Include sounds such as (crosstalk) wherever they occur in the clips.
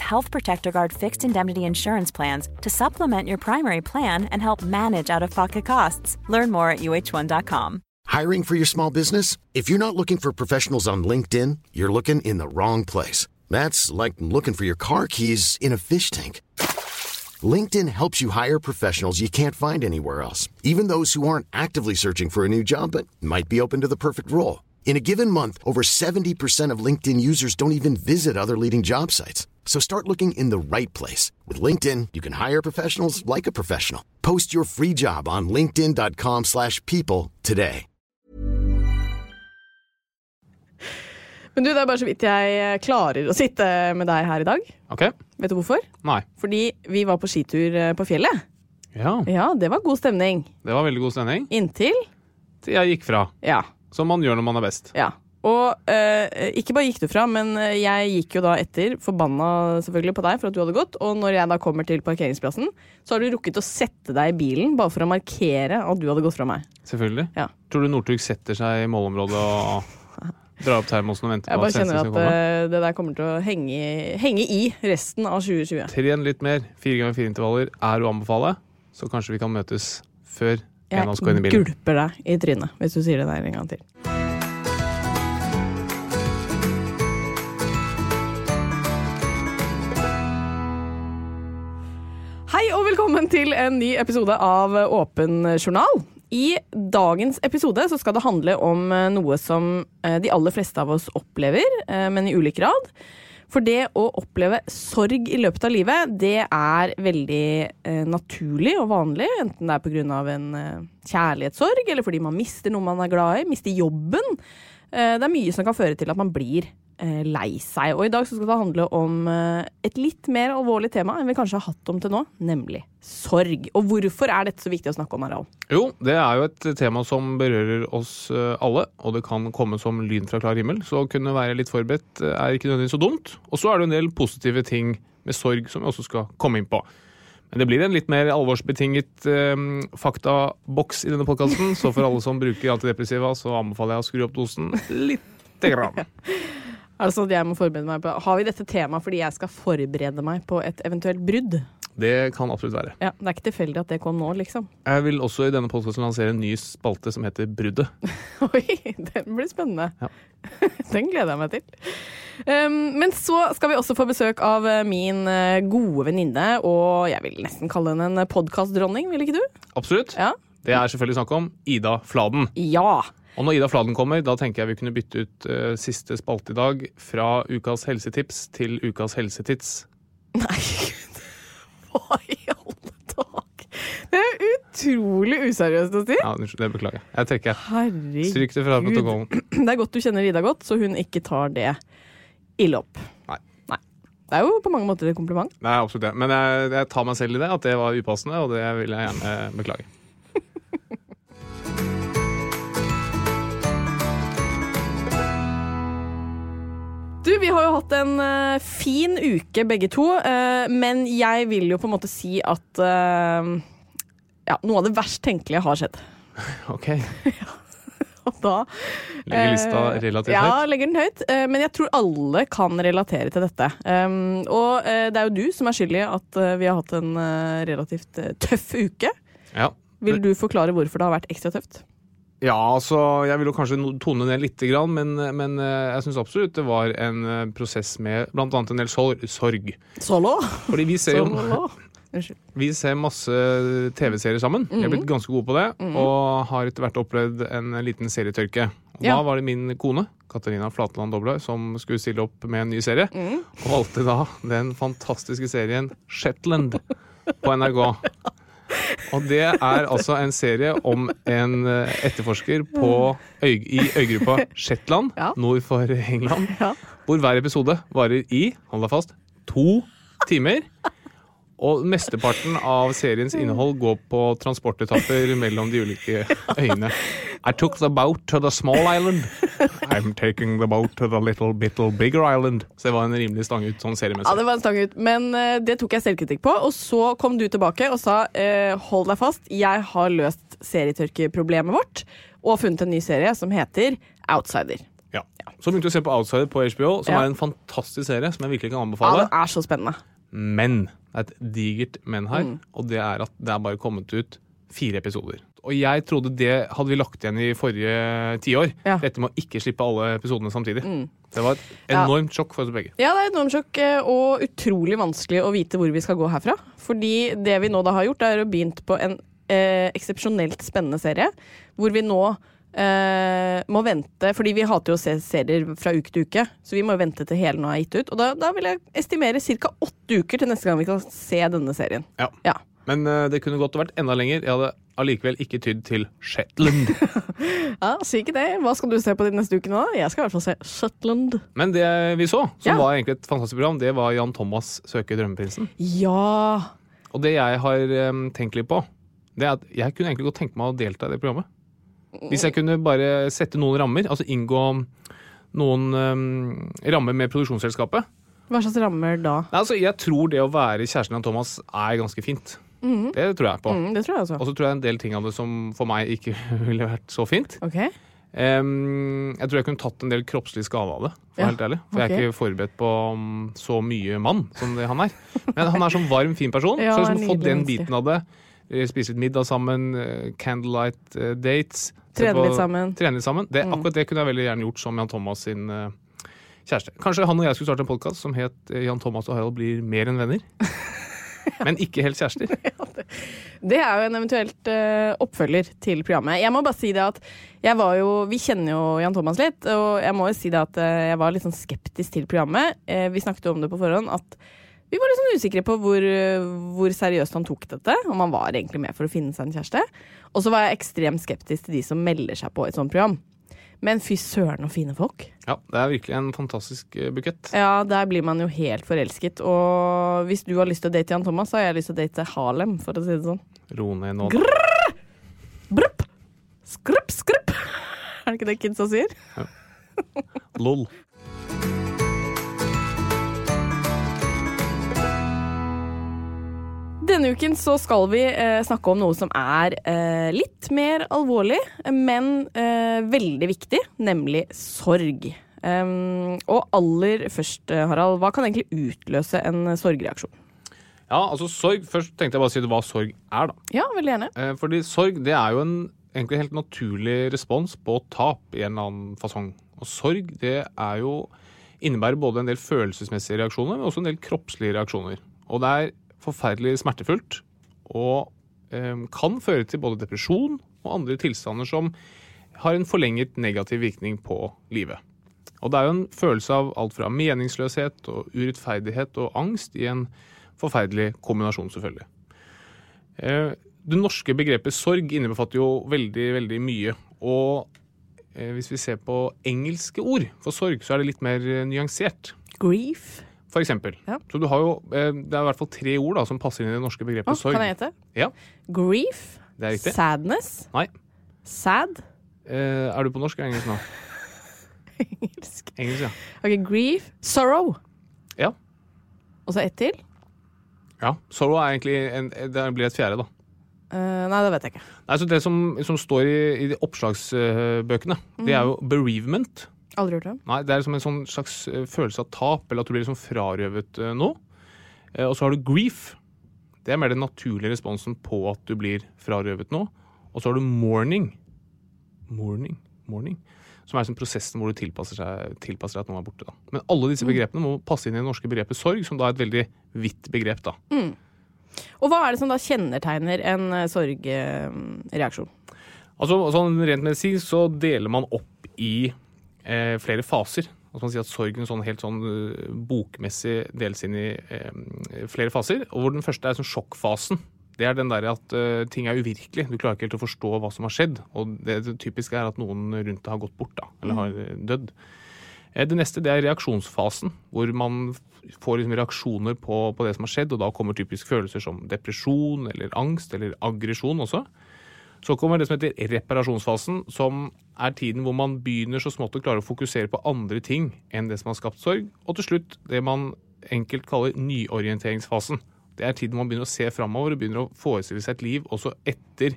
Health Protector Guard fixed indemnity insurance plans to supplement your primary plan and help manage out of pocket costs. Learn more at uh1.com. Hiring for your small business? If you're not looking for professionals on LinkedIn, you're looking in the wrong place. That's like looking for your car keys in a fish tank. LinkedIn helps you hire professionals you can't find anywhere else, even those who aren't actively searching for a new job but might be open to the perfect role. In a given month, over 70% of LinkedIn users don't even visit other leading job sites. So start looking in the right place. With LinkedIn, you can hire professionals like a professional. Post your free job on linkedin.com/people slash people today. Men du, det er bare så vidt jeg eh, klarer å sitte med deg her i dag. OK? Vet du hvorfor? Nei. Fordi vi var på skitur eh, på fjellet. Ja, Ja, det var god stemning. det var veldig god stemning. Inntil Til Jeg gikk fra. Ja. Som man gjør når man er best. ja. Og eh, ikke bare gikk du fra, men eh, jeg gikk jo da etter, forbanna selvfølgelig på deg for at du hadde gått, og når jeg da kommer til parkeringsplassen, så har du rukket å sette deg i bilen bare for å markere at du hadde gått fra meg. Selvfølgelig. Ja. Tror du Northug setter seg i målområdet og drar opp termosen og venter Jeg på bare at kjenner svenskene skal at komme? eh, det der kommer til å henge, henge i resten av 2020. Tren litt mer. Fire ganger fire intervaller er å anbefale. Så kanskje vi kan møtes før en av oss går inn i Jeg bilen. gulper deg i trynet hvis du sier det der en gang til. Hei og velkommen til en ny episode av Åpen journal. I dagens episode så skal det handle om eh, noe som eh, de aller fleste av oss opplever, eh, men i ulik grad. For det å oppleve sorg i løpet av livet, det er veldig eh, naturlig og vanlig. Enten det er pga. en eh, kjærlighetssorg, eller fordi man mister noe man er glad i, mister jobben. Eh, det er mye som kan føre til at man blir eh, lei seg. Og i dag så skal det handle om eh, et litt mer alvorlig tema enn vi kanskje har hatt om til nå, nemlig sorg. Og hvorfor er dette så viktig å snakke om, Harald? Jo, det er jo et tema som berører oss eh, alle, og det kan komme som lyn fra klar himmel. Så å kunne være litt forberedt eh, er ikke nødvendigvis så dumt. Og så er det jo en del positive ting med sorg som vi også skal komme inn på. Men det blir en litt mer alvorsbetinget eh, faktaboks i denne podkasten. Så for alle som bruker antidepressiva, så anbefaler jeg å skru opp dosen lite grann. Er det sånn at jeg må forberede meg på Har vi dette temaet fordi jeg skal forberede meg på et eventuelt brudd? Det kan absolutt være. Ja, Det er ikke tilfeldig at det kom nå, liksom. Jeg vil også i denne podkasten lansere en ny spalte som heter Bruddet. (laughs) Oi, den blir spennende. Ja. (laughs) Den gleder jeg meg til. Um, men så skal vi også få besøk av eh, min eh, gode venninne, og jeg vil nesten kalle henne en podkastdronning, vil ikke du? Absolutt. Ja. Det er selvfølgelig snakk om Ida Fladen. ja. (laughs) Og når Ida Fladen kommer, da tenker jeg vi kunne bytte ut eh, siste spalte i dag fra ukas helsetips til ukas helsetits. Nei, gud. Hva i alle tak? Det er jo utrolig useriøst å si. Ja, unnskyld, det beklager jeg. Jeg trekker. jeg. Herregud. Stryk det fra protokollen. Det er godt du kjenner Ida godt, så hun ikke tar det ille opp. Nei. Nei. Det er jo på mange måter et kompliment. Nei, absolutt det. Men jeg, jeg tar meg selv i det, at det var upassende, og det vil jeg gjerne beklage. Du, vi har jo hatt en eh, fin uke begge to, eh, men jeg vil jo på en måte si at eh, ja, noe av det verst tenkelige har skjedd. (laughs) Ok. Og da Legger lista eh, relativt ja, høyt. legger den høyt. eh, men jeg tror alle kan relatere til dette. Um, og eh, det er jo du som er skyld i at eh, vi har hatt en eh, relativt eh, tøff uke. Ja. Vil du forklare hvorfor det har vært ekstra tøft? Ja, altså, jeg vil jo kanskje no- tone ned litt, grann, men, men eh, jeg syns absolutt det var en eh, prosess med bl.a. en del sor- sorg. Solo? (laughs) Fordi vi ser jo Solo. Unnskyld. Vi ser masse TV-serier sammen. Vi er blitt ganske gode på det. Og har etter hvert opplevd en liten serietørke. Og Ja. Da var det min kone, Katarina Flatland Doble, som skulle stille opp med en ny serie. Og valgte da den fantastiske serien Shetland på NRK. Og det er altså en serie om en eh, etterforsker på øy, i øygruppa Shetland, Ja. nord for England, Ja. hvor hver episode varer i, hold deg fast, to timer. Og mesteparten av seriens innhold går på transportetapper mellom de ulike øyene. I took the boat to the small island. I'm taking the boat to the little bittle bigger island. Så det var en rimelig stang ut sånn seriemessig. Ja, det var en stang ut, men eh, det tok jeg selvkritikk på. Og så kom du tilbake og sa eh, hold deg fast, jeg har løst serietørkeproblemet vårt. Og funnet en ny serie som heter Outsider. Ja. Så begynte jeg å se på Outsider på HBO, som Ja. er en fantastisk serie som jeg virkelig kan Ja, anbefale. den er så spennende. Men det er et digert men her, Mm. og det er at det er bare kommet ut fire episoder. Og jeg trodde det hadde vi lagt igjen i forrige tiår. Ja. Mm. Dette med å ikke slippe alle episodene samtidig. Det var et Ja. enormt sjokk for oss begge. Ja, det er et normsjokk eh, og utrolig vanskelig å vite hvor vi skal gå herfra. Fordi det vi nå da har gjort, er å begynt på en eh, eksepsjonelt spennende serie. Hvor vi nå eh, må vente, fordi vi hater jo å se serier fra uke til uke. Så vi må vente til hele nå er gitt ut. Og da, da vil jeg estimere ca. åtte uker til neste gang vi kan se denne serien. Ja. Ja. Men eh, det kunne godt vært enda lenger. Jeg hadde allikevel ikke tydd til Shetland. (laughs) ja, Si ikke det. Hva skal du se på de neste ukene da? Jeg skal i hvert fall se Shetland. Men det vi så, som Ja. var egentlig et fantastisk program, det var Jan Thomas søker drømmeprinsen. Ja. Og det jeg har em, tenkt litt på, det er at jeg kunne egentlig godt tenke meg å delta i det programmet. Hvis jeg kunne bare sette noen rammer, altså inngå noen em, rammer med produksjonsselskapet. Hva slags rammer da? Nei, altså, jeg tror det å være kjæresten av Thomas er ganske fint. Det tror jeg på. Mm, det tror jeg altså. Og så tror jeg en del ting av det som for meg ikke (laughs) ville vært så fint. Ok. Em, jeg tror jeg kunne tatt en del kroppslig skade av det, for, å være helt ærlig. for jeg er ikke forberedt på mm, så mye mann som det han er. Men han er som varm, fin person. (laughs) Ja, så han er liksom få nydelig den menneske. biten av det. Eh, Spise litt middag sammen, eh, candlelight eh, dates. se Trene på- litt sammen. Mm. Trene litt sammen. Det, Akkurat det kunne jeg veldig gjerne gjort som Jan Thomas sin eh, kjæreste. Kanskje han og jeg skulle starte en podkast som het eh, Jan Thomas og Harald blir mer (laughs) enn venner. Men ikke helt kjærester. Det er jo en eventuelt eh, oppfølger til programmet. Jeg må bare si det at jeg var jo, Vi kjenner jo Jan Thomas litt, og jeg må jo si det at eh, jeg var litt sånn skeptisk til programmet. Eh, vi snakket jo om det på forhånd, at vi var litt sånn usikre på hvor, eh, hvor seriøst han tok dette. Om han var egentlig med for å finne seg en kjæreste. Og så var jeg ekstremt skeptisk til de som melder seg på et sånt program. Men fy søren, så fine folk. Ja, Det er virkelig en fantastisk eh, bukett. Ja, der blir man jo helt forelsket. Og hvis du har lyst til å date Jan Thomas, så har jeg lyst til å date Harlem, for å si det sånn. Ro ned nå. da. Brupp! Skrupp, skrupp! (laughs) Er det ikke det kidsa sier? Lol. Denne uken så skal vi eh, snakke om noe som er eh, litt mer alvorlig, men eh, veldig viktig, nemlig sorg. Um, og aller først, eh, Harald, hva kan egentlig utløse en sorgreaksjon? Ja, altså sorg. Først tenkte jeg bare å si hva sorg er, da. Ja, veldig gjerne. Eh, Fordi sorg det er jo en egentlig helt naturlig respons på tap i en eller annen fasong. Og sorg det er jo innebærer både en del følelsesmessige reaksjoner, men også en del kroppslige reaksjoner. Og det er forferdelig smertefullt og eh, kan føre til både depresjon og andre tilstander som har en forlenget negativ virkning på livet. Og det er jo en følelse av alt fra meningsløshet og urettferdighet og angst i en forferdelig kombinasjon, selvfølgelig. Eh, Det norske begrepet sorg innebefatter jo veldig, veldig mye. Og eh, hvis vi ser på engelske ord for sorg, så er det litt mer eh, nyansert. Grief. For eksempel. Ja. Så du har jo, eh, det er i hvert fall tre ord da, som passer inn i det norske begrepet Å, sorg. kan jeg gjette? Ja, Grief. det er riktig. Sadness. Nei. Sad. (laughs) Eh, er du på norsk eller engelsk nå? Engelsk. Engelsk, ja. Ok, grief. Sorrow. Ja. Og så ett til. ja. Sorrow er egentlig en, det blir et fjerde, da. Eh, nei, det vet jeg ikke. Nei, så Det som, som står i, i de oppslagsbøkene, det er jo Mm. bereavement. Aldri hørt om. Nei, Det er liksom en sånn slags eh, følelse av tap, eller at du blir liksom frarøvet eh, noe. Eh, Og så har du grief. Det er mer den naturlige responsen på at du blir frarøvet noe. Og så har du mourning. Mourning, mourning. Som er liksom prosessen hvor du tilpasser, seg, tilpasser deg at noen er borte. Da. Men alle disse begrepene må passe inn i det norske begrepet sorg, som da er et veldig vidt begrep. da. Og hva er det som da kjennetegner en eh, sorgreaksjon? Altså, sånn Rent medisinsk så deler man opp i eh, flere faser. Altså man sier at Sorgen sånn, helt sånn eh, bokmessig deles inn i eh, flere faser. og hvor Den første er sånn sjokkfasen. Det er den der at eh, ting er uvirkelig. Du klarer ikke helt å forstå hva som har skjedd. Og det typiske er at noen rundt deg har gått bort, da. Eller har eh, dødd. Eh, Det neste det er reaksjonsfasen, hvor man f- får liksom reaksjoner på, på det som har skjedd, og da kommer typisk følelser som depresjon eller angst eller aggresjon også. Så kommer det som heter reparasjonsfasen, som er tiden hvor man begynner så smått å klare å fokusere på andre ting enn det som har skapt sorg. Og til slutt det man enkelt kaller nyorienteringsfasen. Det er tiden man begynner å se framover og begynner å forestille seg et liv også etter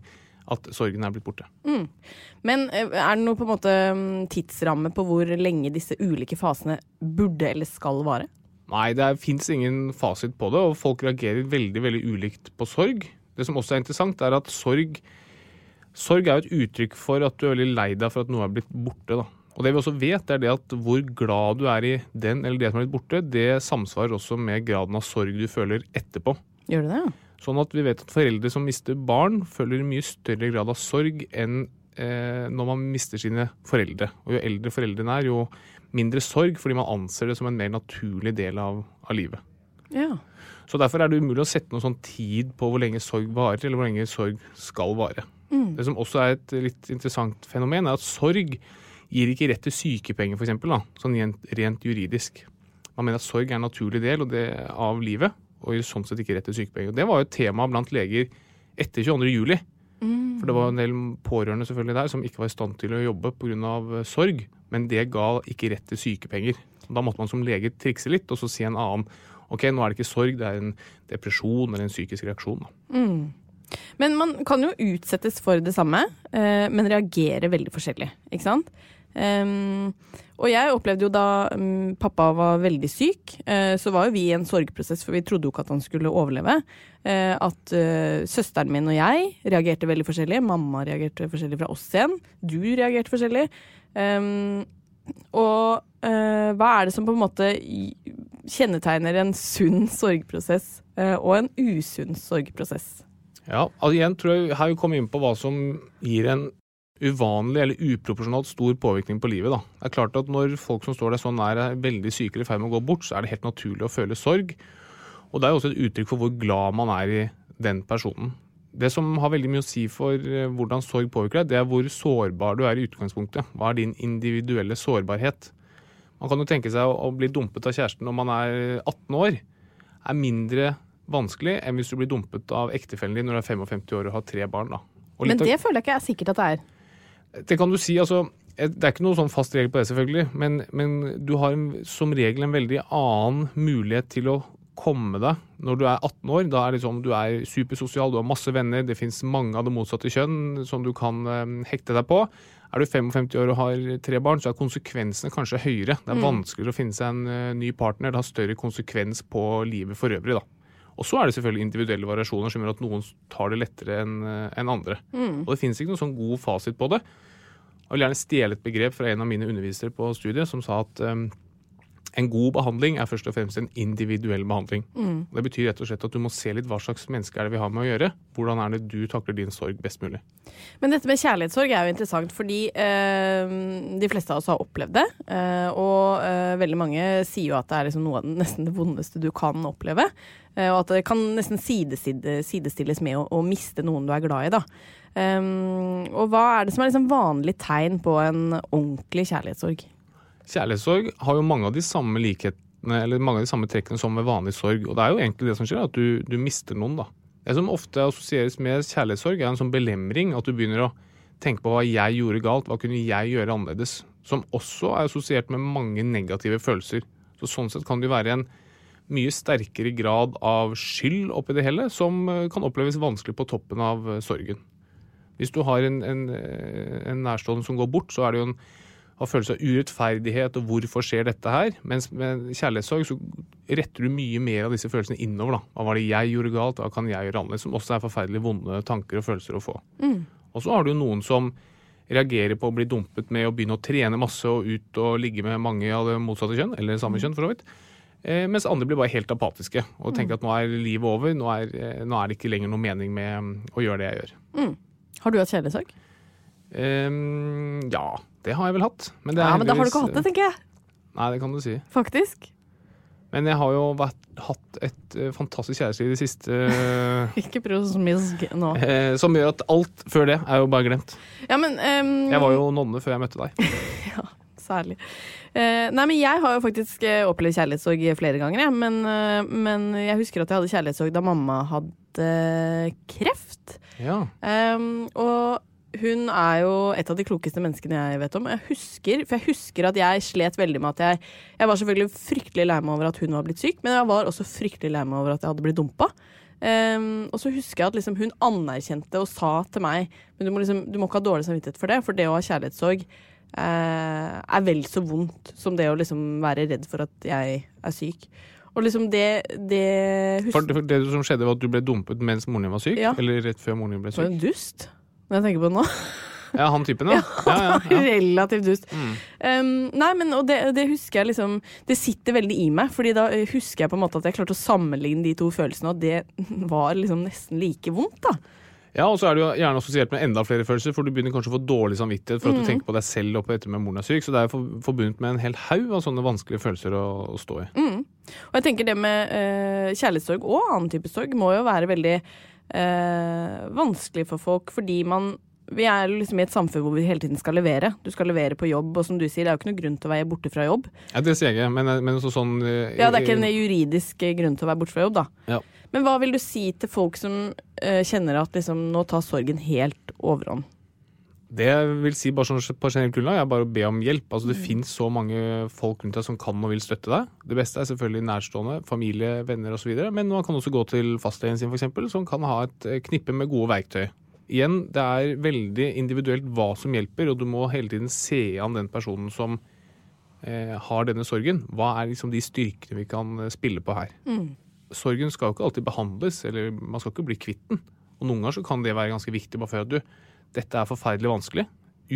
at sorgen er blitt borte. Men eh, er det noe på en måte mm, tidsramme på hvor lenge disse ulike fasene burde eller skal vare? Nei, det fins ingen fasit på det, og folk reagerer veldig veldig ulikt på sorg. Det som også er interessant, er at sorg Sorg er jo et uttrykk for at du er veldig lei deg for at noe er blitt borte. da. Og det vi også vet, er det at hvor glad du er i den eller det som er blitt borte, det samsvarer også med graden av sorg du føler etterpå. Gjør det det? Sånn at vi vet at foreldre som mister barn, føler mye større grad av sorg enn eh, når man mister sine foreldre. Og jo eldre foreldrene er, jo mindre sorg, fordi man anser det som en mer naturlig del av, av livet. Ja. Så derfor er det umulig å sette noen sånn tid på hvor lenge sorg varer, eller hvor lenge sorg skal vare. Det som også er et litt interessant fenomen, er at sorg gir ikke rett til sykepenger, f.eks., sånn rent, rent juridisk. Man mener at sorg er en naturlig del og det, av livet, og gir sånn sett ikke rett til sykepenger. Og Det var jo et tema blant leger etter 22. juli. For det var jo en del pårørende selvfølgelig der som ikke var i stand til å jobbe pga. eh, sorg, men det ga ikke rett til sykepenger. Så Da måtte man som lege trikse litt, og så si en annen ok, nå er det ikke sorg, det er en depresjon eller en psykisk reaksjon. Da. Men man kan jo utsettes for det samme, eh, men reagere veldig forskjellig, ikke sant? Ehm, og jeg opplevde jo da mm, pappa var veldig syk, eh, så var jo vi i en sorgprosess, for vi trodde jo ikke at han skulle overleve. eh, at eh, søsteren min og jeg reagerte veldig forskjellig. Mamma reagerte forskjellig fra oss igjen. Du reagerte forskjellig. Ehm, og eh, hva er det som på en måte i- kjennetegner en sunn sorgprosess eh, og en usunn sorgprosess? Ja, altså igjen tror jeg her vi kommer inn på hva som gir en uvanlig eller uproporsjonalt stor påvirkning på livet. Da. Det er klart at Når folk som står deg så nær er veldig syke eller i ferd med å gå bort, så er det helt naturlig å føle sorg. Og det er jo også et uttrykk for hvor glad man er i den personen. Det som har veldig mye å si for eh, hvordan sorg påvirker deg, det er hvor sårbar du er i utgangspunktet. Hva er din individuelle sårbarhet? Man kan jo tenke seg å- å bli dumpet av kjæresten når man er 18 år er mindre vanskelig enn hvis du blir dumpet av ektefellen din når du er 55 år og har tre barn. Da. Og Men litt av- det føler jeg ikke er sikkert at det er. det kan du si, altså eh, det er ikke noen sånn fast regel på det, selvfølgelig, men, men du har en, som regel en veldig annen mulighet til å komme deg når du er 18 år. Da er det liksom, du er supersosial, du har masse venner, det fins mange av det motsatte kjønn som du kan eh, hekte deg på. Er du 55 år og har tre barn, så er konsekvensene kanskje høyere. Det er vanskeligere å finne seg en eh, ny partner, det har større konsekvens på livet for øvrig. da. Og så er det selvfølgelig individuelle variasjoner som gjør at noen tar det lettere enn eh, enn andre. Og det fins ikke noen sånn god fasit på det. Jeg vil gjerne stjele et begrep fra en av mine undervisere på studiet, som sa at um, en god behandling er først og fremst en individuell behandling. Det betyr rett og slett at du må se litt hva slags menneske er det vi har med å gjøre. Hvordan er det du takler din sorg best mulig? Men dette med kjærlighetssorg er jo interessant, fordi eh, de fleste av oss har opplevd det. eh, og eh, veldig mange sier jo at det er liksom noe av den, nesten det vondeste du kan oppleve. eh, og at det kan nesten sideside, sidestilles med å, å miste noen du er glad i, da. Ehm, og hva er det som er liksom vanlig tegn på en ordentlig kjærlighetssorg? Kjærlighetssorg har jo mange av de samme likhetene, eller mange av de samme trekkene som med vanlig sorg. Og det er jo egentlig det som skjer, at du, du mister noen, da. Det som ofte assosieres med kjærlighetssorg, er en sånn belemring. At du begynner å tenke på hva jeg gjorde galt, hva kunne jeg gjøre annerledes. Som også er assosiert med mange negative følelser. Så sånn sett kan det jo være en mye sterkere grad av skyld oppi det hele, som eh, kan oppleves vanskelig på toppen av eh, sorgen. Hvis du har en, en, eh, en nærstående som går bort, så er det jo en har følelse av urettferdighet og hvorfor skjer dette her? Mens med kjærlighetssorg så retter du mye mer av disse følelsene innover. da. Hva var det jeg gjorde galt, hva kan jeg gjøre annerledes? Som også er forferdelig vonde tanker og følelser å få. Og så har du jo noen som reagerer på å bli dumpet med å begynne å trene masse og ut og ligge med mange av det motsatte kjønn, eller samme kjønn for så vidt. Eh, mens andre blir bare helt apatiske og tenker at nå er livet over, nå er, eh, nå er det ikke lenger noe mening med mm, å gjøre det jeg gjør. Har du hatt kjærlighetssorg? Ehm, ja, det har jeg vel hatt. Men det er Ja, men da har du heldigvis- ikke hatt det, tenker jeg. Nei, det kan du si. Faktisk. Men jeg har jo vært, hatt et eh, fantastisk kjæreste i det siste, eh, (laughs) Ikke prøv å smiske nå. eh, som gjør at alt før det er jo bare glemt. Ja, men ehm, Jeg var jo nonne før jeg møtte deg. Særlig. Eh, nei, men jeg har jo faktisk eh, opplevd kjærlighetssorg flere ganger, jeg. Men, eh, men jeg husker at jeg hadde kjærlighetssorg da mamma hadde kreft. Ja. Ehm, og hun er jo et av de klokeste menneskene jeg vet om. Jeg husker, for jeg husker at jeg slet veldig med at jeg Jeg var selvfølgelig fryktelig lei meg over at hun var blitt syk, men jeg var også fryktelig lei meg over at jeg hadde blitt dumpa. Ehm, og så husker jeg at liksom hun anerkjente og sa til meg Men du må, liksom, du må ikke ha dårlig samvittighet for det, for det å ha kjærlighetssorg eh, er vel så vondt som det å liksom være redd for at jeg er syk. Og liksom det, det For, for det som skjedde, var at du ble dumpet mens moren din var syk? Ja. Eller rett før moren din ble For syk? en dust, når jeg tenker på det nå. Ja, han typen, ja. ja, ja, Mm. ja. (laughs) Relativt dust. Um, nei, men og det, det husker jeg liksom Det sitter veldig i meg, Fordi da eh, husker jeg på en måte at jeg klarte å sammenligne de to følelsene, og det (laughs) var liksom nesten like vondt, da. ja og så er det jo gjerne assosiert med enda flere følelser, for du begynner kanskje å få dårlig samvittighet for at Mm. du tenker på deg selv og på dette med moren er syk, så det er jo for- forbundet med en hel haug av sånne vanskelige følelser å, å stå Mm. i. Og jeg tenker det med eh, kjærlighetssorg og annen type sorg må jo være veldig eh, vanskelig for folk, fordi man vi er jo liksom i et samfunn hvor vi hele tiden skal levere. Du skal levere på jobb, og som du sier, det er jo ikke noen grunn til å være borte fra jobb. Ja, det sier jeg, men, men så sånn eh, Ja, det er ikke en juridisk eh, grunn til å være borte fra jobb, da. Ja. Men hva vil du si til folk som eh, kjenner at liksom, nå tar sorgen helt overhånd? Det jeg vil si bare sånn på generelt grunnlag, er bare å be om hjelp. Altså, det finnes så mange folk rundt deg som kan og vil støtte deg. Det beste er selvfølgelig nærstående, familie, venner osv. Men man kan også gå til fastlegen sin, f.eks., som kan ha et eh, knippe med gode verktøy. Igjen, det er veldig individuelt hva som hjelper, og du må hele tiden se an den personen som eh, har denne sorgen. Hva er liksom de styrkene vi kan eh, spille på her? Sorgen skal jo ikke alltid behandles, eller man skal ikke bli kvitt den. Og noen ganger så kan det være ganske viktig, bare for at du dette er forferdelig vanskelig.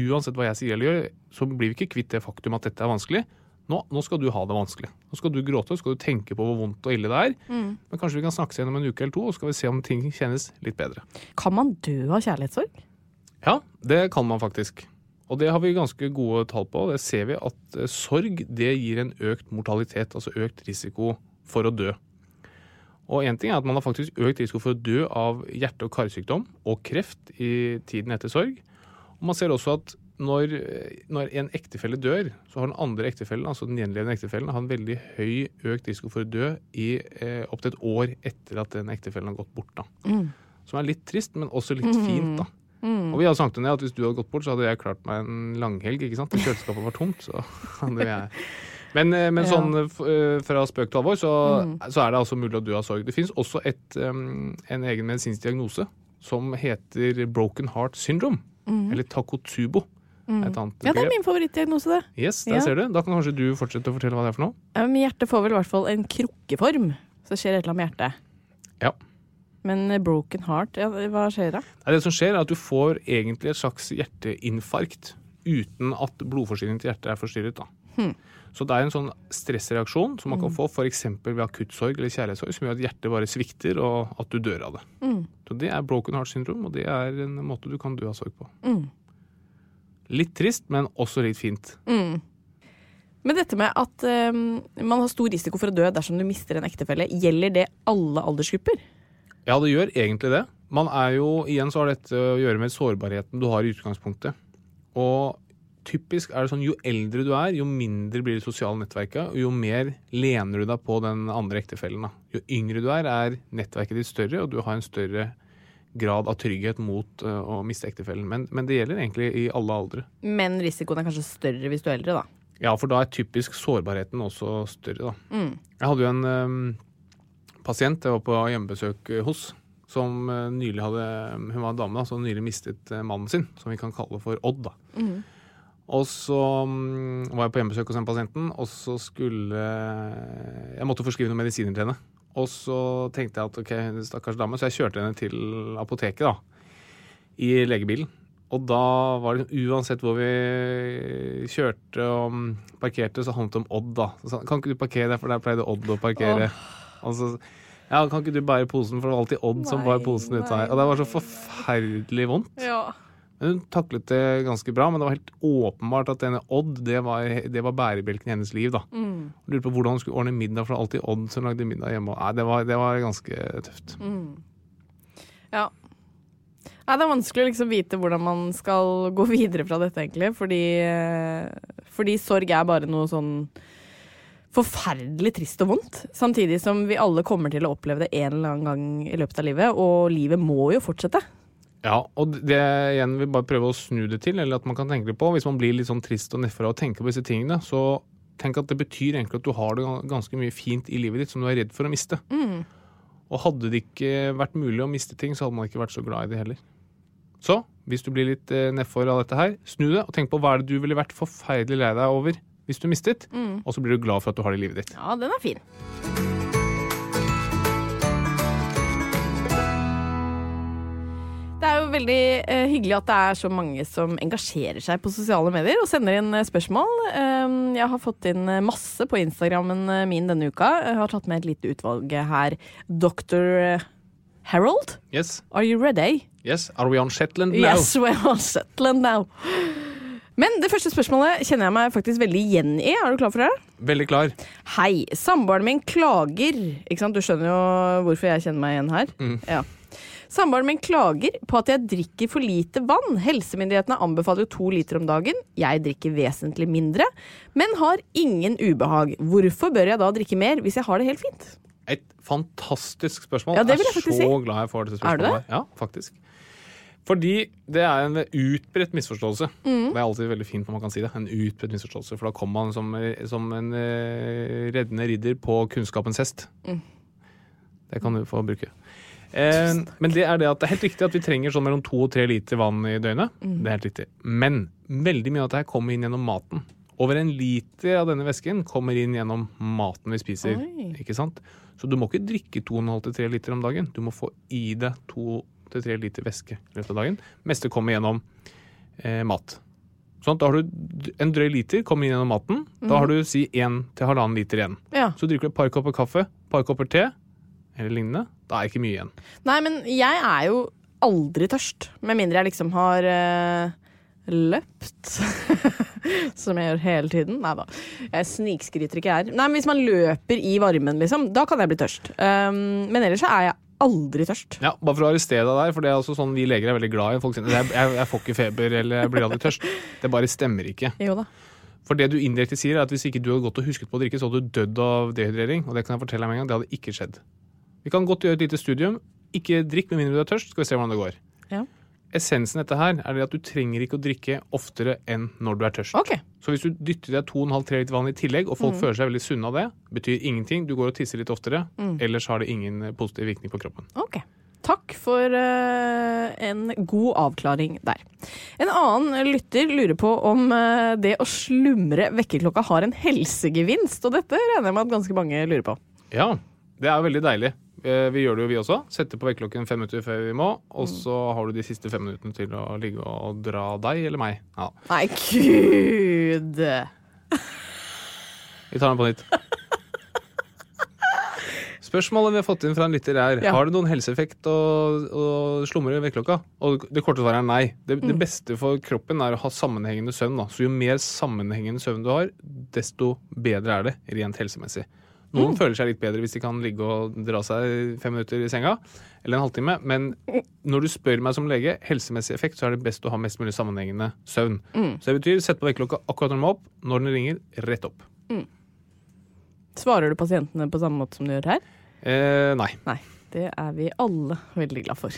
Uansett hva jeg sier eller gjør, så blir vi ikke kvitt det faktum at dette er vanskelig. Nå, nå skal du ha det vanskelig. Nå skal du gråte, så skal du tenke på hvor vondt og ille det er. Men kanskje vi kan snakkes igjen om en uke eller to, og så skal vi se om ting kjennes litt bedre. Kan man dø av kjærlighetssorg? Ja, det kan man faktisk. Og det har vi ganske gode tall på. Det ser vi at eh, sorg det gir en økt mortalitet, altså økt risiko for å dø. Og én ting er at man har faktisk økt risiko for å dø av hjerte- og karsykdom og kreft i tiden etter sorg. Og man ser også at når, eh, når en ektefelle dør, så har den andre ektefellen, altså den gjenlevende ektefellen, har en veldig høy økt risiko for å dø i eh, opptil et år etter at den ektefellen har gått bort. da. Som er litt trist, men også litt Mm. fint. da. Og vi hadde snakket om det, at hvis du hadde gått bort, så hadde jeg klart meg en langhelg. ikke sant? Og Kjøleskapet var tomt, så (laughs) hadde jeg Men, eh, men Ja. Mm. sånn eh, f- eh, fra spøk til alvor, så, så er det altså mulig å dø av sorg. Det fins også et, em, en egen medisinsk diagnose som heter broken heart syndrome. Eller takotsubo. Et annet Mm. Ja, det er begrep. min favorittdiagnose, det. Yes, der Ja. ser du. Da kan kanskje du fortsette å fortelle hva det er for noe. Ja, men hjertet får vel i hvert fall en krukkeform. Så skjer et eller annet med hjertet. Ja. Men eh, broken heart, ja, hva skjer da? Nei, Det som skjer, er at du får egentlig et slags hjerteinfarkt uten at blodforsyningen til hjertet er forstyrret. da. Så det er en sånn stressreaksjon som man kan få f.eks. ved akutt sorg eller kjærlighetssorg, som gjør at hjertet bare svikter, og at du dør av det. Så Det er broken heart syndrome, og det er en måte du kan dø av sorg på. Litt trist, men også litt fint. Men dette med at eh, man har stor risiko for å dø dersom du mister en ektefelle, gjelder det alle aldersgrupper? Ja, det gjør egentlig det. Man er jo, igjen så har dette å gjøre med sårbarheten du har i utgangspunktet. Og typisk er det sånn, jo eldre du er, jo mindre blir det sosiale nettverket, og jo mer lener du deg på den andre ektefellen. Da. Jo yngre du er, er nettverket ditt større, og du har en større grad av trygghet mot eh, å miste ektefellen. Men, men det gjelder egentlig i alle aldre. Men risikoen er kanskje større hvis du er eldre, da. Ja, for da er typisk sårbarheten også større, da. Jeg hadde jo en øhm, pasient jeg var på hjemmebesøk øh, hos, som øh, nylig hadde Hun var en dame da, som nylig mistet øh, mannen sin, som vi kan kalle for Odd, da. Og så mm, var jeg på hjemmebesøk hos den pasienten, og så skulle Jeg måtte forskrive noen medisiner til henne. Og så tenkte jeg at ok, stakkars dame, så jeg kjørte henne til apoteket, da i legebilen. Og da var det liksom, uansett hvor vi kjørte og parkerte, så handlet det om Odd, da. Så sa han, kan ikke du parkere der, for der pleide Odd å parkere. Og så, ja, kan ikke du bære posen, for det var alltid Odd som Nei, bar posen ut nei, her. Og det var så forferdelig vondt. Ja. Men hun taklet det ganske bra, men det var helt åpenbart at denne Odd det var, det var bærebjelken i hennes liv. da. Mm. Lurte på hvordan hun skulle ordne middag, for det var alltid Odd som lagde middag hjemme. og- Nei, det var, det var ganske tøft. Ja. Nei, det er vanskelig å liksom vite hvordan man skal gå videre fra dette, egentlig. Fordi, eh, fordi sorg er bare noe sånn forferdelig trist og vondt. Samtidig som vi alle kommer til å oppleve det en eller annen gang i løpet av livet. Og livet må jo fortsette. Ja, og det igjen vil bare prøve å snu det til, eller at man kan tenke det på. Hvis man blir litt sånn trist og nedfor av å tenke på disse tingene, så tenk at det betyr egentlig at du har det gan- ganske mye fint i livet ditt som du er redd for å miste. Og hadde det ikke vært mulig å miste ting, så hadde man ikke vært så glad i det heller. Så hvis du blir litt eh, nedfor av dette her, snu det og tenk på hva er det du ville vært forferdelig lei deg over hvis du mistet, og så blir du glad for at du har det i livet ditt. Ja, den er fin. Det er jo veldig eh, hyggelig at det er så mange som engasjerer seg på sosiale medier og sender inn eh, spørsmål. Eh, jeg har fått inn eh, masse på Instagrammen eh, min denne uka. Jeg har tatt med et lite utvalg her. Dr. Harold, Yes, are you ready? yes, are we on Shetland now? Yes, (laughs) we're on Shetland now. Men det første spørsmålet kjenner jeg meg faktisk veldig igjen i. Er du klar for det? Veldig klar. Hei, samboeren min klager Ikke sant, du skjønner jo hvorfor jeg kjenner meg igjen her ja. Samboeren min klager på at jeg drikker for lite vann Helsemyndighetene anbefaler jo to liter om dagen Jeg drikker vesentlig mindre Men har ingen ubehag Hvorfor bør jeg da drikke mer hvis jeg har det helt fint? Et fantastisk spørsmål. Ja, det vil jeg er faktisk så si. glad jeg får dette Er du spørsmålet. det? Ja, faktisk. Fordi det er en utbredt misforståelse. Mm. Det er alltid veldig fint når man kan si det. En utbredt misforståelse, For da kommer man som, som en eh, reddende ridder på kunnskapens hest. Det kan du få bruke. Eh, men det er det at det er helt riktig at vi trenger sånn mellom to og tre liter vann i døgnet. Det er helt riktig. Men veldig mye av dette her kommer inn gjennom maten. Over en liter av denne væsken kommer inn gjennom maten vi spiser. Ikke sant? Så du må ikke drikke 2,5-3 liter om dagen. Du må få i deg 2-3 liter væske i løpet av dagen. Meste kommer gjennom eh, mat. Sånn, da har du d- En drøy liter kommer inn gjennom maten. Da har du si 1-1,5 liter igjen. Ja. Så drikker du et par kopper kaffe, et par kopper te eller lignende. Da er det ikke mye igjen. Nei, men jeg er jo aldri tørst Med mindre jeg liksom har eh, løpt (laughs) Som jeg gjør hele tiden Nei da, jeg snikskryter ikke her Nei, men hvis man løper i varmen liksom Da kan jeg bli tørst um, Men ellers så er jeg aldri tørst Ja, Bare for å arrestere deg der, for det er også sånn vi leger er veldig glad i. Folk sier jeg, jeg, jeg får ikke feber eller jeg blir aldri tørst. Det bare stemmer ikke. Jo da For det du indirekte sier, er at hvis ikke du hadde gått og husket på å drikke, så hadde du dødd av dehydrering. Og det kan jeg fortelle deg med en gang, det hadde ikke skjedd. Vi kan godt gjøre et lite studium. Ikke drikk med mindre du er tørst, skal vi se hvordan det går. Ja. Essensen i dette her er det at du trenger ikke å drikke oftere enn når du er tørst. Ok, Mm. Så hvis du dytter i deg 2,5-3 liter vann i tillegg, og folk føler seg veldig sunne av det, betyr ingenting. Du går og tisser litt oftere. Mm. Ellers har det ingen eh, positiv virkning på kroppen. ok Takk for eh, en god avklaring der En annen lytter lurer på om eh, det å slumre vekkerklokka har en helsegevinst Og dette regner jeg med at ganske mange lurer på Ja, det er veldig deilig. Eh, Vi gjør det jo, vi også. Setter på vekkerklokken fem minutter før vi må, og så har du de siste fem minuttene til å ligge og dra deg eller meg. Ja, Nei, gud Vi tar den på nytt. Spørsmålet vi har fått inn fra en lytter er Ja. Har det noen helseeffekt å, å slumre i vekkerklokka. Og det korte svaret er nei. Det, det beste for kroppen er å ha sammenhengende søvn. Da. Så jo mer sammenhengende søvn du har, desto bedre er det rent helsemessig. Noen føler seg litt bedre hvis de kan ligge og dra seg fem minutter i senga, eller en halvtime, men når du spør meg som lege, helsemessig effekt, så er det best å ha mest mulig sammenhengende søvn. Så det betyr sett på vekkerklokka akkurat når den må opp, når den ringer, rett opp. Svarer du pasientene på samme måte som du gjør her? Eh, nei. Nei. Det er vi alle veldig glad for.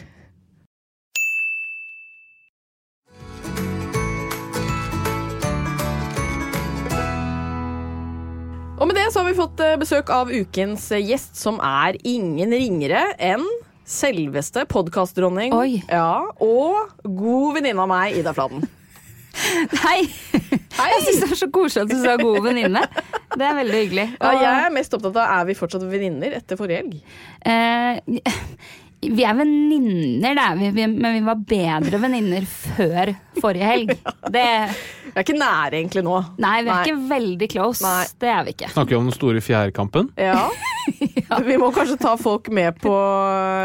Og med det så har vi fått eh, besøk av ukens eh, gjest, som er ingen ringere enn selveste podkastdronning Oi. ja, og god venninne av meg, Ida Fladen. Hei! Hei! Jeg syns det er så koselig at du sa god venninne. Det er veldig hyggelig. Ja, Og, jeg er mest opptatt av er vi fortsatt venninner etter forrige helg. eh, vi er venninner, det er vi, vi, men vi var bedre venninner før forrige (laughs) helg. Det, Vi er ikke nære egentlig nå. nei, vi er ikke veldig close. Nei. Det er vi ikke. Snakker vi om den store fjærkampen? (laughs) Ja, Vi må kanskje ta folk med på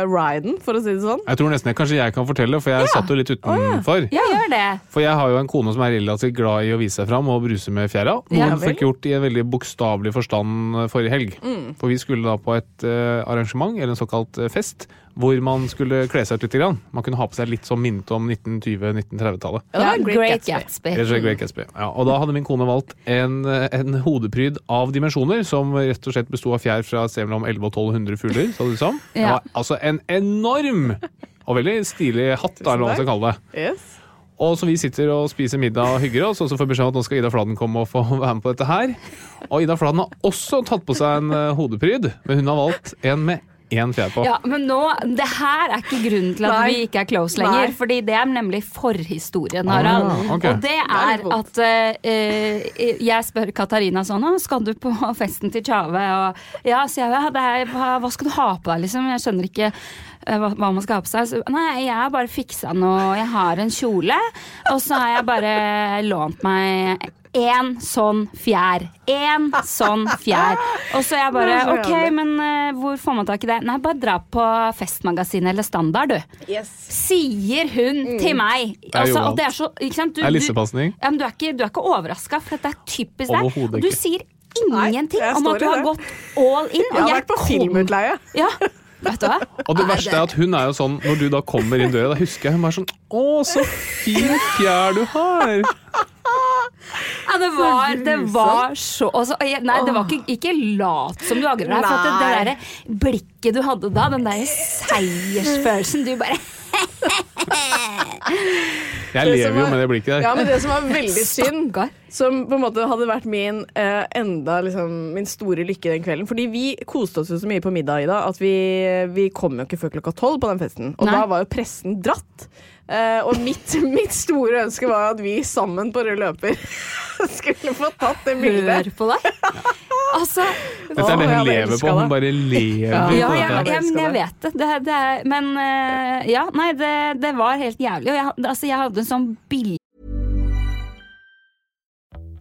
riden, for å si det sånn. Jeg tror nesten jeg, kanskje jeg kan fortelle, for jeg satt jo litt utenfor. Ja, gjør det. For jeg har jo en kone som er relativt glad i å vise seg fram og bruse med fjæra. Noe Ja hun vel. fikk gjort i en veldig bokstavelig forstand eh, forrige helg. For vi skulle da på et eh, arrangement, eller en såkalt eh, fest, hvor man skulle kle seg ut litt. Grann. Man kunne ha på seg litt som minte om 1920-1930-tallet. Ja, det Ja, var en Great Great Gatsby. Gatsby. Rett og slett Great Gatsby. Ja, og da hadde min kone valgt en, eh, en hodepryd av dimensjoner, som rett og slett besto av fjær fra et sted mellom 11 og 1200 fugler, sa du det som. Det Ja. var altså en enorm og veldig stilig hatt, da, eller hva man skal kalle det. Yes. Og så vi sitter og spiser middag og hygger oss, og så får vi beskjed om at nå skal Ida Fladen komme og få (laughs) være med på dette her. Og Ida Fladen har også tatt på seg en eh, hodepryd, men hun har valgt en med én fjær på. Ja, men nå, det her er ikke grunnen til at Nei. vi ikke er close Nei. lenger. Fordi det er nemlig forhistorien, Harald. Ah, ok. Og det er er litt at eh, jeg spør Katarina sånn «Å, skal du på festen til Tjave? Og ja, sier jeg, ja, det er, hva, hva skal du ha på deg, liksom? Jeg skjønner ikke eh, hva, hva man skal ha på seg. Så, Nei, jeg har bare fiksa noe. Jeg har en kjole, og så har jeg bare lånt meg Én sånn fjær. Én sånn fjær. Og så jeg bare Det er så OK, jævlig. men eh, hvor får man tak i det? Nei, bare dra på Festmagasinet eller Standard, du. Sier hun Mm. til meg. er jo Altså, alt. og det er så Ikke sant? Du, Det er du- lissepasning. ja, men du er ikke, du er ikke overraska, for dette er typisk deg. Overhodet Og du ikke. sier Nei, ingenting jeg om står at du i har det. gått all in. (laughs) Jeg har vært på kom- filmutleie. Ja, vet du (laughs) hva? Og det verste er at hun er jo sånn, når du da kommer inn døra, da husker jeg hun var sånn Å, så fin fjær du har! Ja, det var, det var så altså, jeg, Nei, det var ikke, ikke lat som du angrer deg. For at det, det der blikket du hadde da, den (laughs) der seiersfølelsen du bare Jeg Det som lever jo er- med det blikket Ja, der. men det som var veldig synd Stakkar. som på en måte hadde vært min eh, enda liksom, min store lykke den kvelden. Fordi vi koste oss jo så mye på middag i dag at vi, vi kom jo ikke før klokka tolv på den festen. Og Nei. da var jo pressen dratt. Eh, og mitt, (laughs) mitt store ønske var at vi sammen på rød løper (laughs) skulle få tatt det bildet. Hør på (laughs) deg. Altså Å, Dette er det jeg hun hadde lever på. elsket det. Hun bare lever Ja. på Ja, jeg ja, hadde dette. her. ja, men elsket jeg det. vet det. det, det er, men eh, ja, nei, det, det var helt jævlig. Og jeg, altså, jeg hadde en sånn billig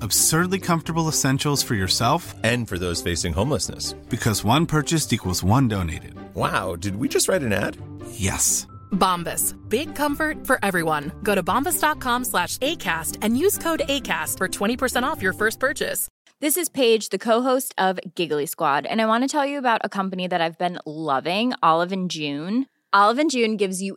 Absurdly comfortable essentials for yourself And for those facing homelessness. because one purchased equals one donated. Wow, did we just write an ad? Yes. Bombas. Big comfort for everyone. Go to bombas.com slash ACAST and use code ACAST for 20% off your first purchase. This is Paige, the co-host of Giggly Squad, and I want to tell you about a company that I've been loving, Olive and June. Olive and June gives you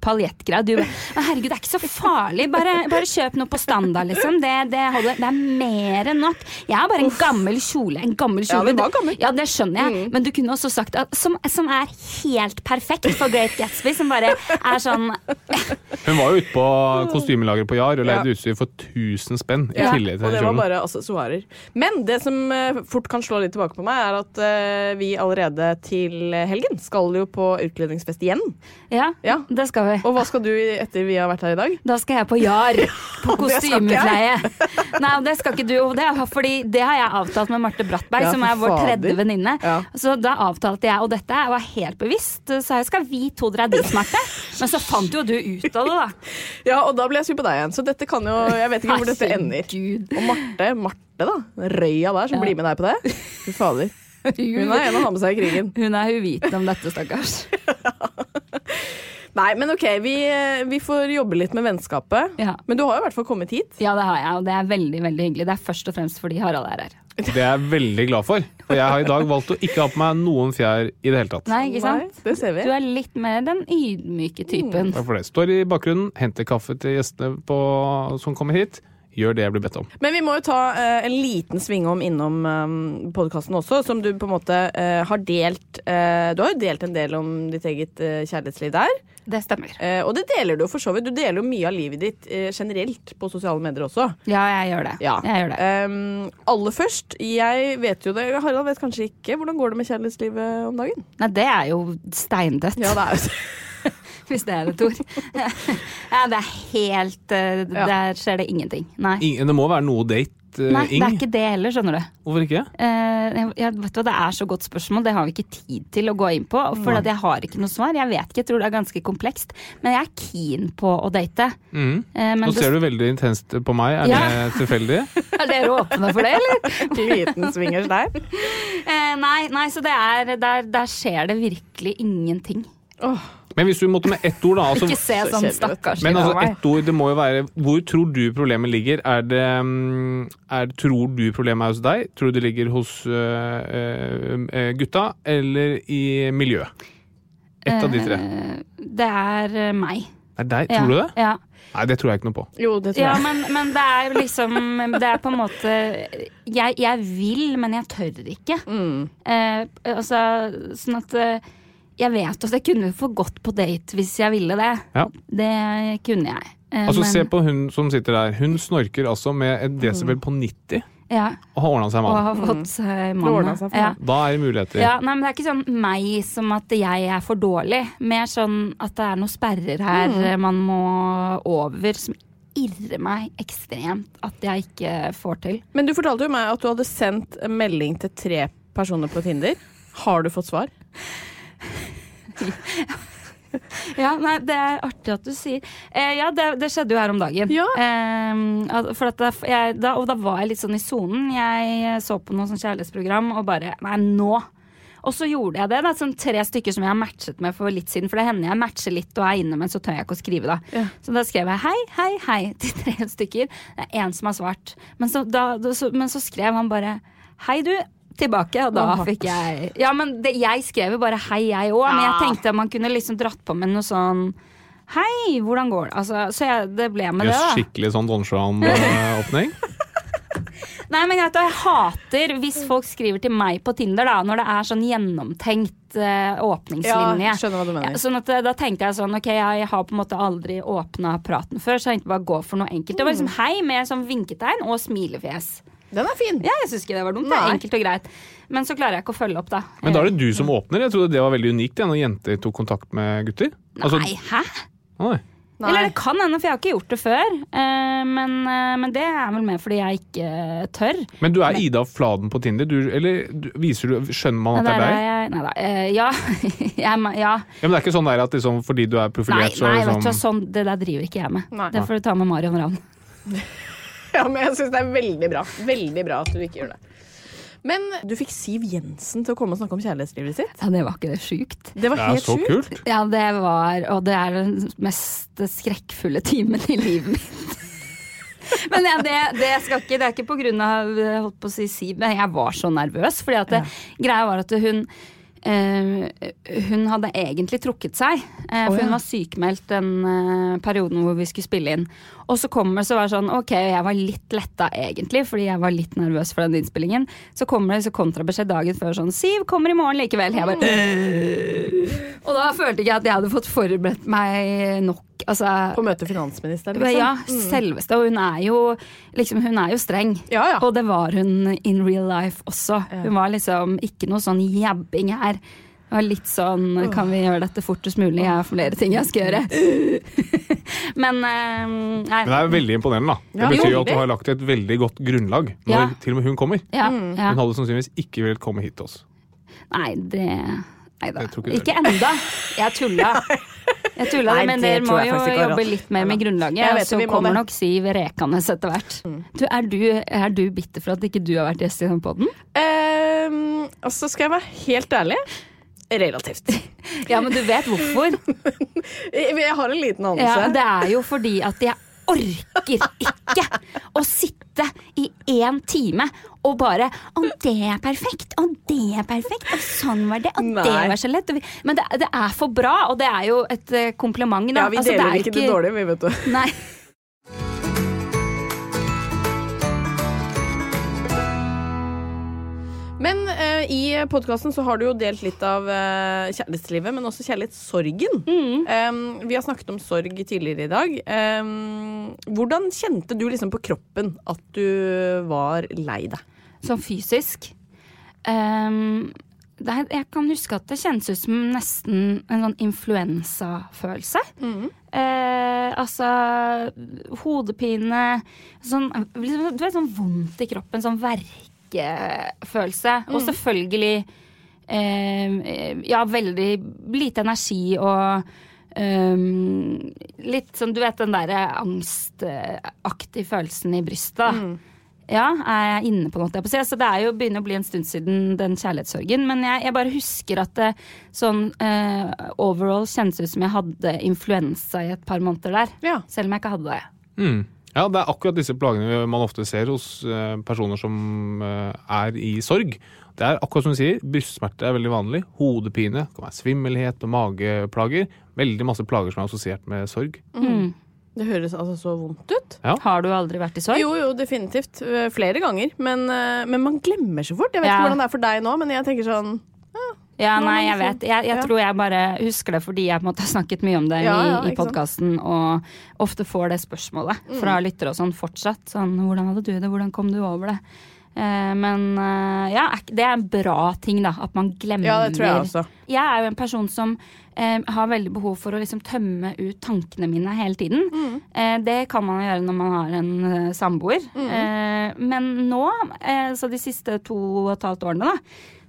paljettgreie. Du bare «Men herregud, det er ikke så farlig. Bare, bare kjøp noe på standard, liksom. Det, det, holder. det er mer enn nok. Jeg har bare en gammel kjole. En gammel Ja, kjole. den var gammel. Mm. Ja, det skjønner jeg. Men du kunne også sagt at som, som er helt perfekt for Great Gatsby, som bare er sånn Hun var jo ute på kostymelageret på Jar og Ja. leide utstyr for 1000 spenn i Ja, tillegg og til det var kjolen. bare aksessoarer. Men det som eh, fort kan slå litt tilbake på meg, er at eh, vi allerede til helgen skal jo på utkledningsfest igjen. ja, Ja. det skal vi. Og hva skal du i- etter vi har vært her i dag? Da skal jeg på JAR. På det skal ikke kostymeutleie. Nei, og det skal ikke du. Og det, er fordi det har jeg avtalt med Marte Brattberg, Ja, som for er vår tredje fader. venninne. Ja. Så da avtalte jeg, og dette var helt bevisst, så jeg skal vi to dra dit, Marte. Men så fant jo du ut av det, da. Ja, og da blir jeg sur på deg igjen. Så dette kan jo Jeg vet ikke hvor dette ender. Herregud. Og Marte, Marte da. Røya der som blir med deg på det. Fy fader. Hun er en å ha med seg i krigen. Hun er uvitende om dette, stakkars. Nei, men ok, vi, eh, vi får jobbe litt med vennskapet. Men du har jo i hvert fall kommet hit. Ja, det har jeg, og det er veldig veldig hyggelig. Det er først og fremst fordi Harald er her. Det er jeg veldig glad for. Og jeg har i dag valgt å ikke ha på meg noen fjær i det hele tatt. Nei, ikke sant? det Mm. ser vi. Du er litt mer den ydmyke typen. Takk for det. Står i bakgrunnen, henter kaffe til gjestene på, som kommer hit. Gjør det jeg blir bedt om. Men vi må jo ta eh, en liten sving om innom eh, podkasten også, som du på en måte eh, har delt eh, Du har jo delt en del om ditt eget eh, kjærlighetsliv der. Det stemmer. Eh, og det deler du jo for så vidt. Du deler jo mye av livet ditt eh, generelt på sosiale medier også. Ja, jeg gjør det. Ja. Jeg gjør det. Ehm, aller først, jeg vet jo det Harald vet kanskje ikke. Hvordan går det med kjærlighetslivet om dagen? Nei, det er jo steindødt. Ja, det er jo Hvis det er et ord. (laughs) ja, det er helt eh, Der skjer det ingenting. Nei. Ingen, det må være noe date, eh, Nei, det Ing? er ikke det heller, skjønner du. Hvorfor ikke? Eh, jeg, jeg- vet du hva, Det er så godt spørsmål, det har vi ikke tid til å gå inn på. For at jeg har ikke noe svar. Jeg vet ikke, jeg tror det er ganske komplekst. Men jeg er keen på å date. Mm. Eh, men Nå det- ser du veldig intenst på meg. Er Ja. det tilfeldig? Er dere åpne for det, eller? (laughs) Liten swingers der. (laughs) Eh, nei, nei, så det er der, der skjer det virkelig ingenting. Men hvis du måtte med ett ord, da. Altså, ikke se sånn stakkars men ut av altså, meg. ett ord, det må jo være Hvor tror du problemet ligger? Er det, mm, er, Tror du problemet er hos deg? Tror du det ligger hos øh, øh, øh, gutta? Eller i miljøet? Ett av de tre. Eh, Det er eh, meg. Er deg? Ja, Tror du det? Ja. Nei, det tror jeg ikke noe på. Jo, det tror Ja, jeg. men, men det er jo liksom Det er på en måte Jeg, jeg vil, men jeg tør ikke. Eh, altså, sånn at eh, Jeg vet at jeg kunne få gått på date hvis jeg ville det. Ja. Det kunne jeg. Eh, Altså, men- Se på hun som sitter der. Hun snorker altså med et desibel på 90 Ja, og har ordna seg og mann. har fått seg mann. ordnet seg for ja. Da er det muligheter. Ja, nei, men Det er ikke sånn meg som at jeg er for dårlig. Mer sånn at det er noen sperrer her eh, man må over, som irrer meg ekstremt at jeg ikke får til. Men du fortalte jo meg at du hadde sendt en melding til tre personer på Tinder. Har du fått svar? Ja, nei, Det er artig at du sier eh, Ja, det, det skjedde jo her om dagen. Ja. Ehm, at- for at da, jeg, da, og da var jeg litt sånn i sonen. Jeg så på noe sånn kjærlighetsprogram og bare Nei, nå! Og så gjorde jeg det. Det er sånn tre stykker som jeg har matchet med for litt siden. For det hender jeg matcher litt og er inne, men så tør jeg ikke å skrive, da. Så da skrev jeg hei, hei, hei (laughs) til tre stykker. Det er én som har svart. Men så, da, da- så, men så skrev han bare hei, du. Tilbake, og da fikk jeg Ja, men det, jeg skrev jo bare hei, jeg òg. Men jeg tenkte at man kunne liksom dratt på med noe sånn Hei, hvordan går det? Altså, så jeg, det ble med Jøss, det, da. skikkelig sånn Don Juan-åpning. (laughs) Nei, men jeg, vet, hva, jeg hater hvis folk skriver til meg på Tinder da, når det er sånn gjennomtenkt eh, åpningslinje. Ja, skjønner hva du mener. Ja, sånn at eh, Da tenkte jeg sånn, ok, jeg, jeg har på en måte aldri åpna praten før, så jeg tenkte bare gå for noe enkelt. Det var Mm. liksom hei med sånn vinketegn og smilefjes. Den er fin. Ja, jeg syns ikke det var dumt. Det Nei. er enkelt og greit. Men så klarer jeg ikke å følge opp, da. Men da er det du som åpner. Jeg trodde det var veldig unikt jeg, når jenter tok kontakt med gutter. Altså- Nei, hæ? Nei. Nei. Eller det kan hende, for jeg har ikke gjort det før. Eh, men, eh, men det er vel mer fordi jeg ikke eh, tør. Men du er Ida Fladen på Tinder? Du, eller du, viser du, skjønner man at det Der er er deg? jeg, nei da. eh, ja. (laughs) jeg, må- ja. Ja, men det er ikke sånn der at liksom, fordi du er Nei, profilert, så nei vet du, hva, liksom sånn, det der driver ikke jeg med. Nei. Det får du ta med Marion Ravn. (laughs) Ja, men jeg syns det er veldig bra. Veldig bra at du ikke gjør det. Men du fikk Siv Jensen til å komme og snakke om kjærlighetslivet sitt. (laughs) Ja, det var ikke det sjukt? Det var Det er helt så sjukt. kult! Ja, det var Og det er den mest skrekkfulle timen i livet mitt. Men ja, det, det, skal ikke, det er ikke på grunn av eh, holdt på å si, Siv, men jeg var så nervøs. Fordi at det, greia var at hun eh, hun hadde egentlig trukket seg, eh, for Å, ja. hun var sykemeldt den eh, perioden hvor vi skulle spille inn. Og så kommer det så var det sånn, ok, jeg var litt letta egentlig, fordi jeg var litt nervøs for den innspillingen. Så kommer det så kontrabeskjed dagen før sånn, Siv kommer i morgen likevel. Jeg bare, Mm. "Øh." og da følte ikke jeg at jeg hadde fått forberedt meg nok. Altså, På møte finansministeren, liksom. ja, selveste. Og hun er jo, liksom, hun er jo streng. Ja, ja. Og det var hun in real life også. Hun var liksom ikke noe sånn jabbing her. Det var litt sånn Kan vi gjøre dette fortest mulig? Jeg har flere ting jeg skal gjøre. (laughs) Men eh, nei. Men det er veldig imponerende, da. Det Ja, betyr jo jo, at du har lagt et veldig godt grunnlag når Ja. til og med hun kommer. Ja, Mm. ja. Hun hadde sannsynligvis ikke villet komme hit til oss. Nei, det Nei da. Jeg tror ikke det. Ikke enda. Jeg tulla. (laughs) Jeg tulla Nei, men det dere må tror jeg jo faktisk ikke, Harald. jobbe litt mer med grunnlaget. Jeg vet og så det, vi må kommer det. Mm. nok Siv rekende etter hvert. Du, er, du, er du bitter for at ikke du har vært gjest i den podden? Ehm, altså, skal jeg være helt ærlig? (laughs) Relativt. Ja, men du vet (laughs) hvorfor. Jeg jeg har en liten anelse. Ja, det er jo fordi at jeg orker ikke å sitte i én time og bare Å, det er perfekt! Å, det er perfekt! Og sånn var det! Og det Nei. var så lett! og vi- Men det, det er for bra, og det er jo et eh, kompliment. Da. Ja, vi Altså, det deler er ikke det dårlige, vi, vet du. Nei. Men eh, i podkasten så har du jo delt litt av eh, kjærlighetslivet, men også kjærlighetssorgen. Eh, vi har snakket om sorg tidligere i dag. Eh, hvordan kjente du liksom på kroppen at du var lei deg? Sånn fysisk. Ehm, det er, jeg kan huske at det kjennes ut som nesten en sånn influensafølelse. Eh, altså hodepine sånn, liksom, Du vet sånn vondt i kroppen, sånn verkefølelse. Og selvfølgelig eh, Ja, veldig lite energi og ehm, litt sånn, du vet den derre angstaktige følelsen i brystet. da. Ja, er jeg inne på noe? holdt Jeg på å si. altså, det er jo begynner å bli en stund siden den kjærlighetssorgen. Men jeg, jeg bare husker at det sånn eh, overall kjennes ut som jeg hadde influensa i et par måneder der. Ja. Selv om jeg ikke hadde det. Mm. Ja, det er akkurat disse plagene man ofte ser hos eh, personer som eh, er i sorg. Det er akkurat som du sier, brystsmerter er veldig vanlig. Hodepine, det kan være svimmelhet og mageplager. Veldig masse plager som er assosiert med sorg. Det høres altså så vondt ut. Har du aldri vært i sorg? Jo, jo, definitivt. Eh, Flere ganger. Men, eh, men man glemmer så fort. Jeg vet Ja. ikke hvordan det er for deg nå, men jeg tenker sånn Ja, Nå er nei, det jeg sånn. vet. Jeg, jeg Ja. tror jeg bare husker det fordi jeg på en måte har snakket mye om det Ja, ja, i, i ikke sant. Mm. podkasten, og ofte får det spørsmålet fra lyttere og sånn fortsatt. Sånn, hvordan hadde du det, hvordan kom du over det? Eh, men eh, ja, er ikke- det er en bra ting, da. At man glemmer Ja, det tror jeg også. Jeg er jo en person som eh, har veldig behov for å liksom tømme ut tankene mine hele tiden. Eh, det kan man gjøre når man har en eh, samboer. Eh, men nå, eh, så de siste to og et halvt årene, da,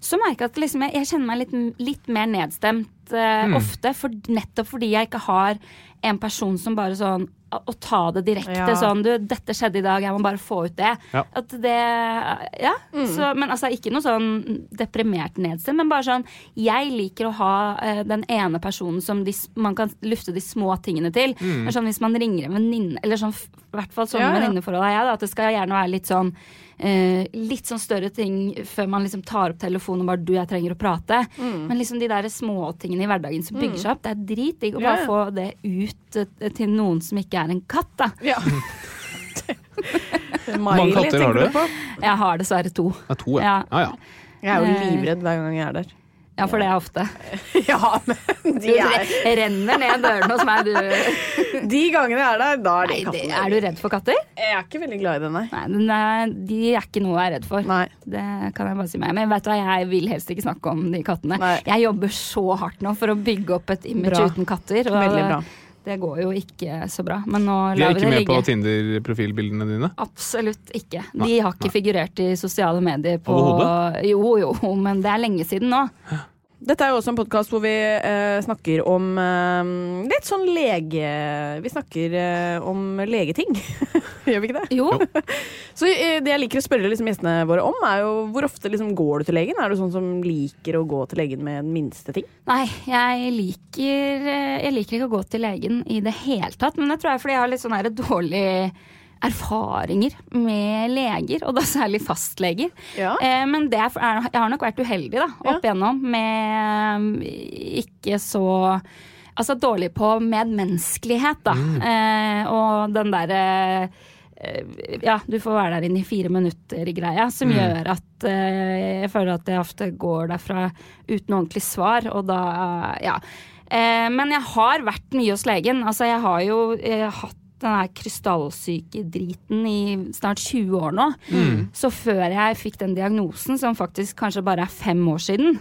så merker jeg at liksom, jeg, jeg kjenner meg litt, litt mer nedstemt eh, ofte. For, nettopp fordi jeg ikke har en person som bare sånn å å ta det direkte Ja. sånn du, 'Dette skjedde i dag, jeg må bare få ut det'. Ja. At det Ja. Mm. Så, men altså ikke noe sånn deprimert nedstemt, men bare sånn Jeg liker å ha eh, den ene personen som de, s- man kan lufte de små tingene til. Det er Sånn, hvis man ringer en venninne, eller sånn f- i hvert fall sånne Ja, ja. venninneforhold er jeg, da, at det skal gjerne være litt sånn eh, litt sånn større ting før man liksom tar opp telefonen og bare 'du, jeg trenger å prate'. Mm. Men liksom de der småtingene i hverdagen som bygger seg opp, det er dritdigg å Ja, bare ja. få det ut eh, til noen som ikke er en katt, da. (laughs) Ja. Hvor Miley, mange katter har tenker du? på? Jeg har dessverre to. Det er to, ja. Ja. ja, ja. Jeg er jo livredd hver gang jeg er der. Ja, for det er ofte. (laughs) Ja, men Du de er re- renner ned dørene hos (laughs) meg, du. De gangene jeg er der, da er det Nei, det, katten. er du redd for katter? Jeg er ikke veldig glad i den, nei. Nei, den er, de er ikke noe jeg er redd for. Nei. Det kan jeg bare si meg. Men vet du hva, jeg vil helst ikke snakke om de kattene. Nei. Jeg jobber så hardt nå for å bygge opp et image Bra. uten katter. Veldig bra. Det går jo ikke så bra. Men nå De lar er vi ikke det med på ligge. Tinder-profilbildene dine. Absolutt ikke. De har ikke figurert i sosiale medier på Overhodet? Jo jo, men det er lenge siden nå. Dette er jo også en podkast hvor vi eh, snakker om eh, litt sånn lege... Vi snakker eh, om legeting. (laughs) Gjør vi ikke det? Jo. Så eh, det jeg liker å spørre liksom, gjestene våre om, er jo hvor ofte liksom, går du til legen? Er du sånn som liker å gå til legen med den minste ting? Nei, jeg liker, eh, jeg liker ikke å gå til legen i det hele tatt. Men det tror jeg er fordi jeg har litt sånne her dårlige erfaringer med leger, og da særlig fastleger. Ja. Eh, Men det er, for- er- jeg har nok vært uheldig da, Ja. opp igjennom med um, ikke så Altså dårlig på medmenneskelighet, da. Mm. Eh, og den eh, derre eh, ja, du får være der inne i fire minutter greia, som gjør at eh, jeg føler at jeg ofte går derfra uten ordentlig svar, og da, ja. Eh, men jeg har vært mye hos legen. Altså, jeg har jo eh, hatt den her krystallsykedriten i snart 20 år nå. Så før jeg fikk den diagnosen, som faktisk kanskje bare er fem år siden,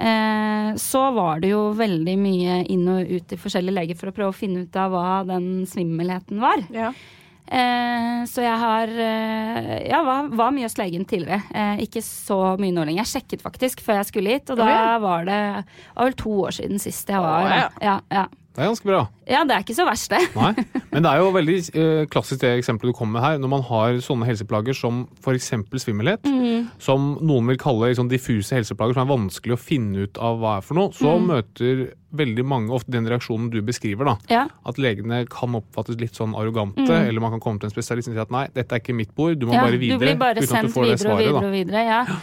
eh, så var det jo veldig mye inn og ut til forskjellige leger for å prøve å finne ut av hva den svimmelheten var. Ja. Eh, så jeg har eh, Ja, var, var mye hos legen tidligere. Eh, ikke så mye nå lenger. Jeg sjekket faktisk før jeg skulle hit, og da Ja, ja. var det det var vel to år siden sist jeg var Å, her. Ja, ja. Det er ganske bra. Ja, det er ikke så verst, det. Nei, men det er jo veldig eh, klassisk det eksempelet du kommer med her. Når man har sånne helseplager som f.eks. svimmelhet, Mhm. som noen vil kalle liksom, diffuse helseplager som er vanskelig å finne ut av hva er for noe, så Mhm. møter veldig mange ofte den reaksjonen du beskriver. da. Ja. At legene kan oppfattes litt sånn arrogante, Mhm. eller man kan komme til en spesialist og si at nei, dette er ikke mitt bord, du må ja, bare videre. Du blir bare uten at sendt du får videre det svaret, og da. videre og videre. Ja.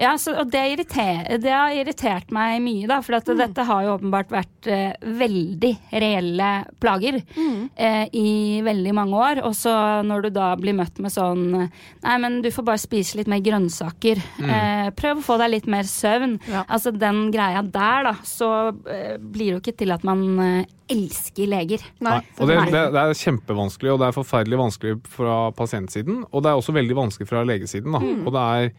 Ja, så, og det, irriter, det har irritert meg mye, da, for at Mm. dette har jo åpenbart vært eh, veldig reelle plager Mm. eh, i veldig mange år. Og så når du da blir møtt med sånn Nei, men du får bare spise litt mer grønnsaker. Mm. Eh, prøv å få deg litt mer søvn. Altså den greia der, da. Så eh, blir det jo ikke til at man eh, elsker leger. Nei, og det, det, det er kjempevanskelig, og det er forferdelig vanskelig fra pasientsiden. Og det er også veldig vanskelig fra legesiden. Da. Mm. Og det er,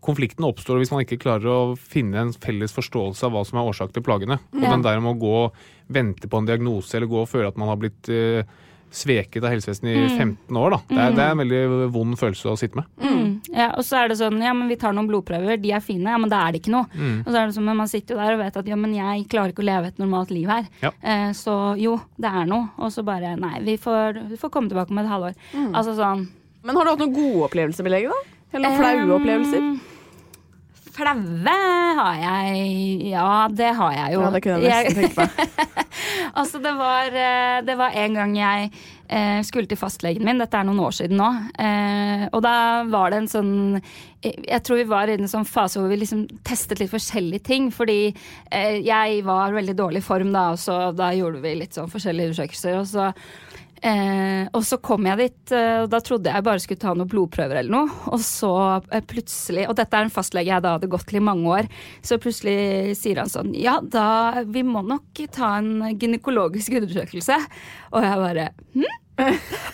konflikten oppstår hvis man ikke klarer å finne en felles forståelse av hva som er årsak til plagene. Og Ja. den der med å gå og vente på en diagnose eller gå og føle at man har blitt eh, sveket av helsevesenet i Mm. 15 år, da. Det er, Mm. det er en veldig vond følelse å sitte med. Mm. Ja, og så er det sånn, ja, men vi tar noen blodprøver, de er fine, ja, men da er det ikke noe. Mm. Og så er det sånn, men man sitter jo der og vet at ja, men jeg klarer ikke å leve et normalt liv her. Ja. Eh, så jo, det er noe. Og så bare, nei, vi får, vi får komme tilbake om et halvår. Mm. Altså sånn. Men har du hatt noen gode opplevelser med lege, da? Eller flaue Em, opplevelser? Flaue har jeg Ja, det har jeg jo. Ja, det kunne jeg nesten tenke meg. altså, det var, eh, det var en gang jeg eh, skulle til fastlegen min, dette er noen år siden nå. eh, Og da var det en sånn eh, Jeg tror vi var i en sånn fase hvor vi liksom testet litt forskjellige ting. Fordi eh, jeg var veldig dårlig i form da, og så da gjorde vi litt sånn forskjellige undersøkelser. Og så Eh, og så kom jeg dit, eh, og da trodde jeg bare skulle ta noen blodprøver eller noe. Og så eh, plutselig, og dette er en fastlege jeg da hadde gått til i mange år, så plutselig sier han sånn Ja, da vi må nok ta en gynekologisk undersøkelse. Og jeg bare Hm?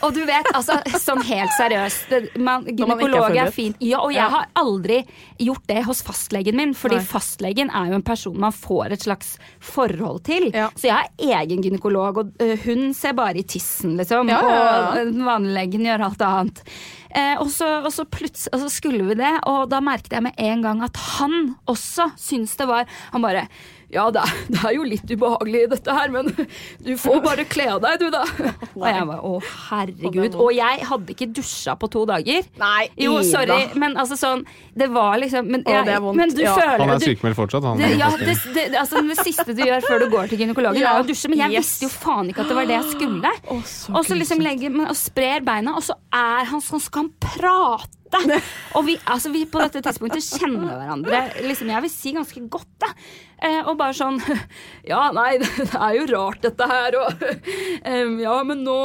og du vet, altså, sånn helt seriøst det- Når man man, ikke er Gynekolog er forberedt. fint. Ja, og jeg Ja. har aldri gjort det hos fastlegen min, fordi Nei. fastlegen er jo en person man får et slags forhold til. Så jeg har egen gynekolog, og ø, hun ser bare i tissen, liksom. Ja, ja, ja. Og ø, den vanlige legen gjør alt annet. Eh, og, så, og, så plutselig- og så skulle vi det, og da merket jeg med en gang at han også syntes det var Han bare Ja, det er, det er jo litt ubehagelig dette her, men du får bare kle av deg, (laughs) du, da. Og jeg bare Å, herregud. Og jeg hadde ikke dusja på to dager. Nei, Jo, sorry, Ida. men altså sånn Det var liksom Men, Å, jeg, det er vondt, men du ja. føler Han er du- sykemeldt fortsatt, han. det, ja, det, det, altså, det siste du gjør før du går til gynekologen, Ja, er å dusje. Men jeg yes. visste jo faen ikke at det var det jeg skulle. og så liksom legger men- og sprer beina, og så er han sånn Skal han prate? Og vi, altså, vi på dette tidspunktet kjenner hverandre liksom, jeg vil si ganske godt. Da. Eh, og bare sånn (laughs) Ja, nei, (laughs) det er jo rart, dette her, og (laughs) em, Ja, men nå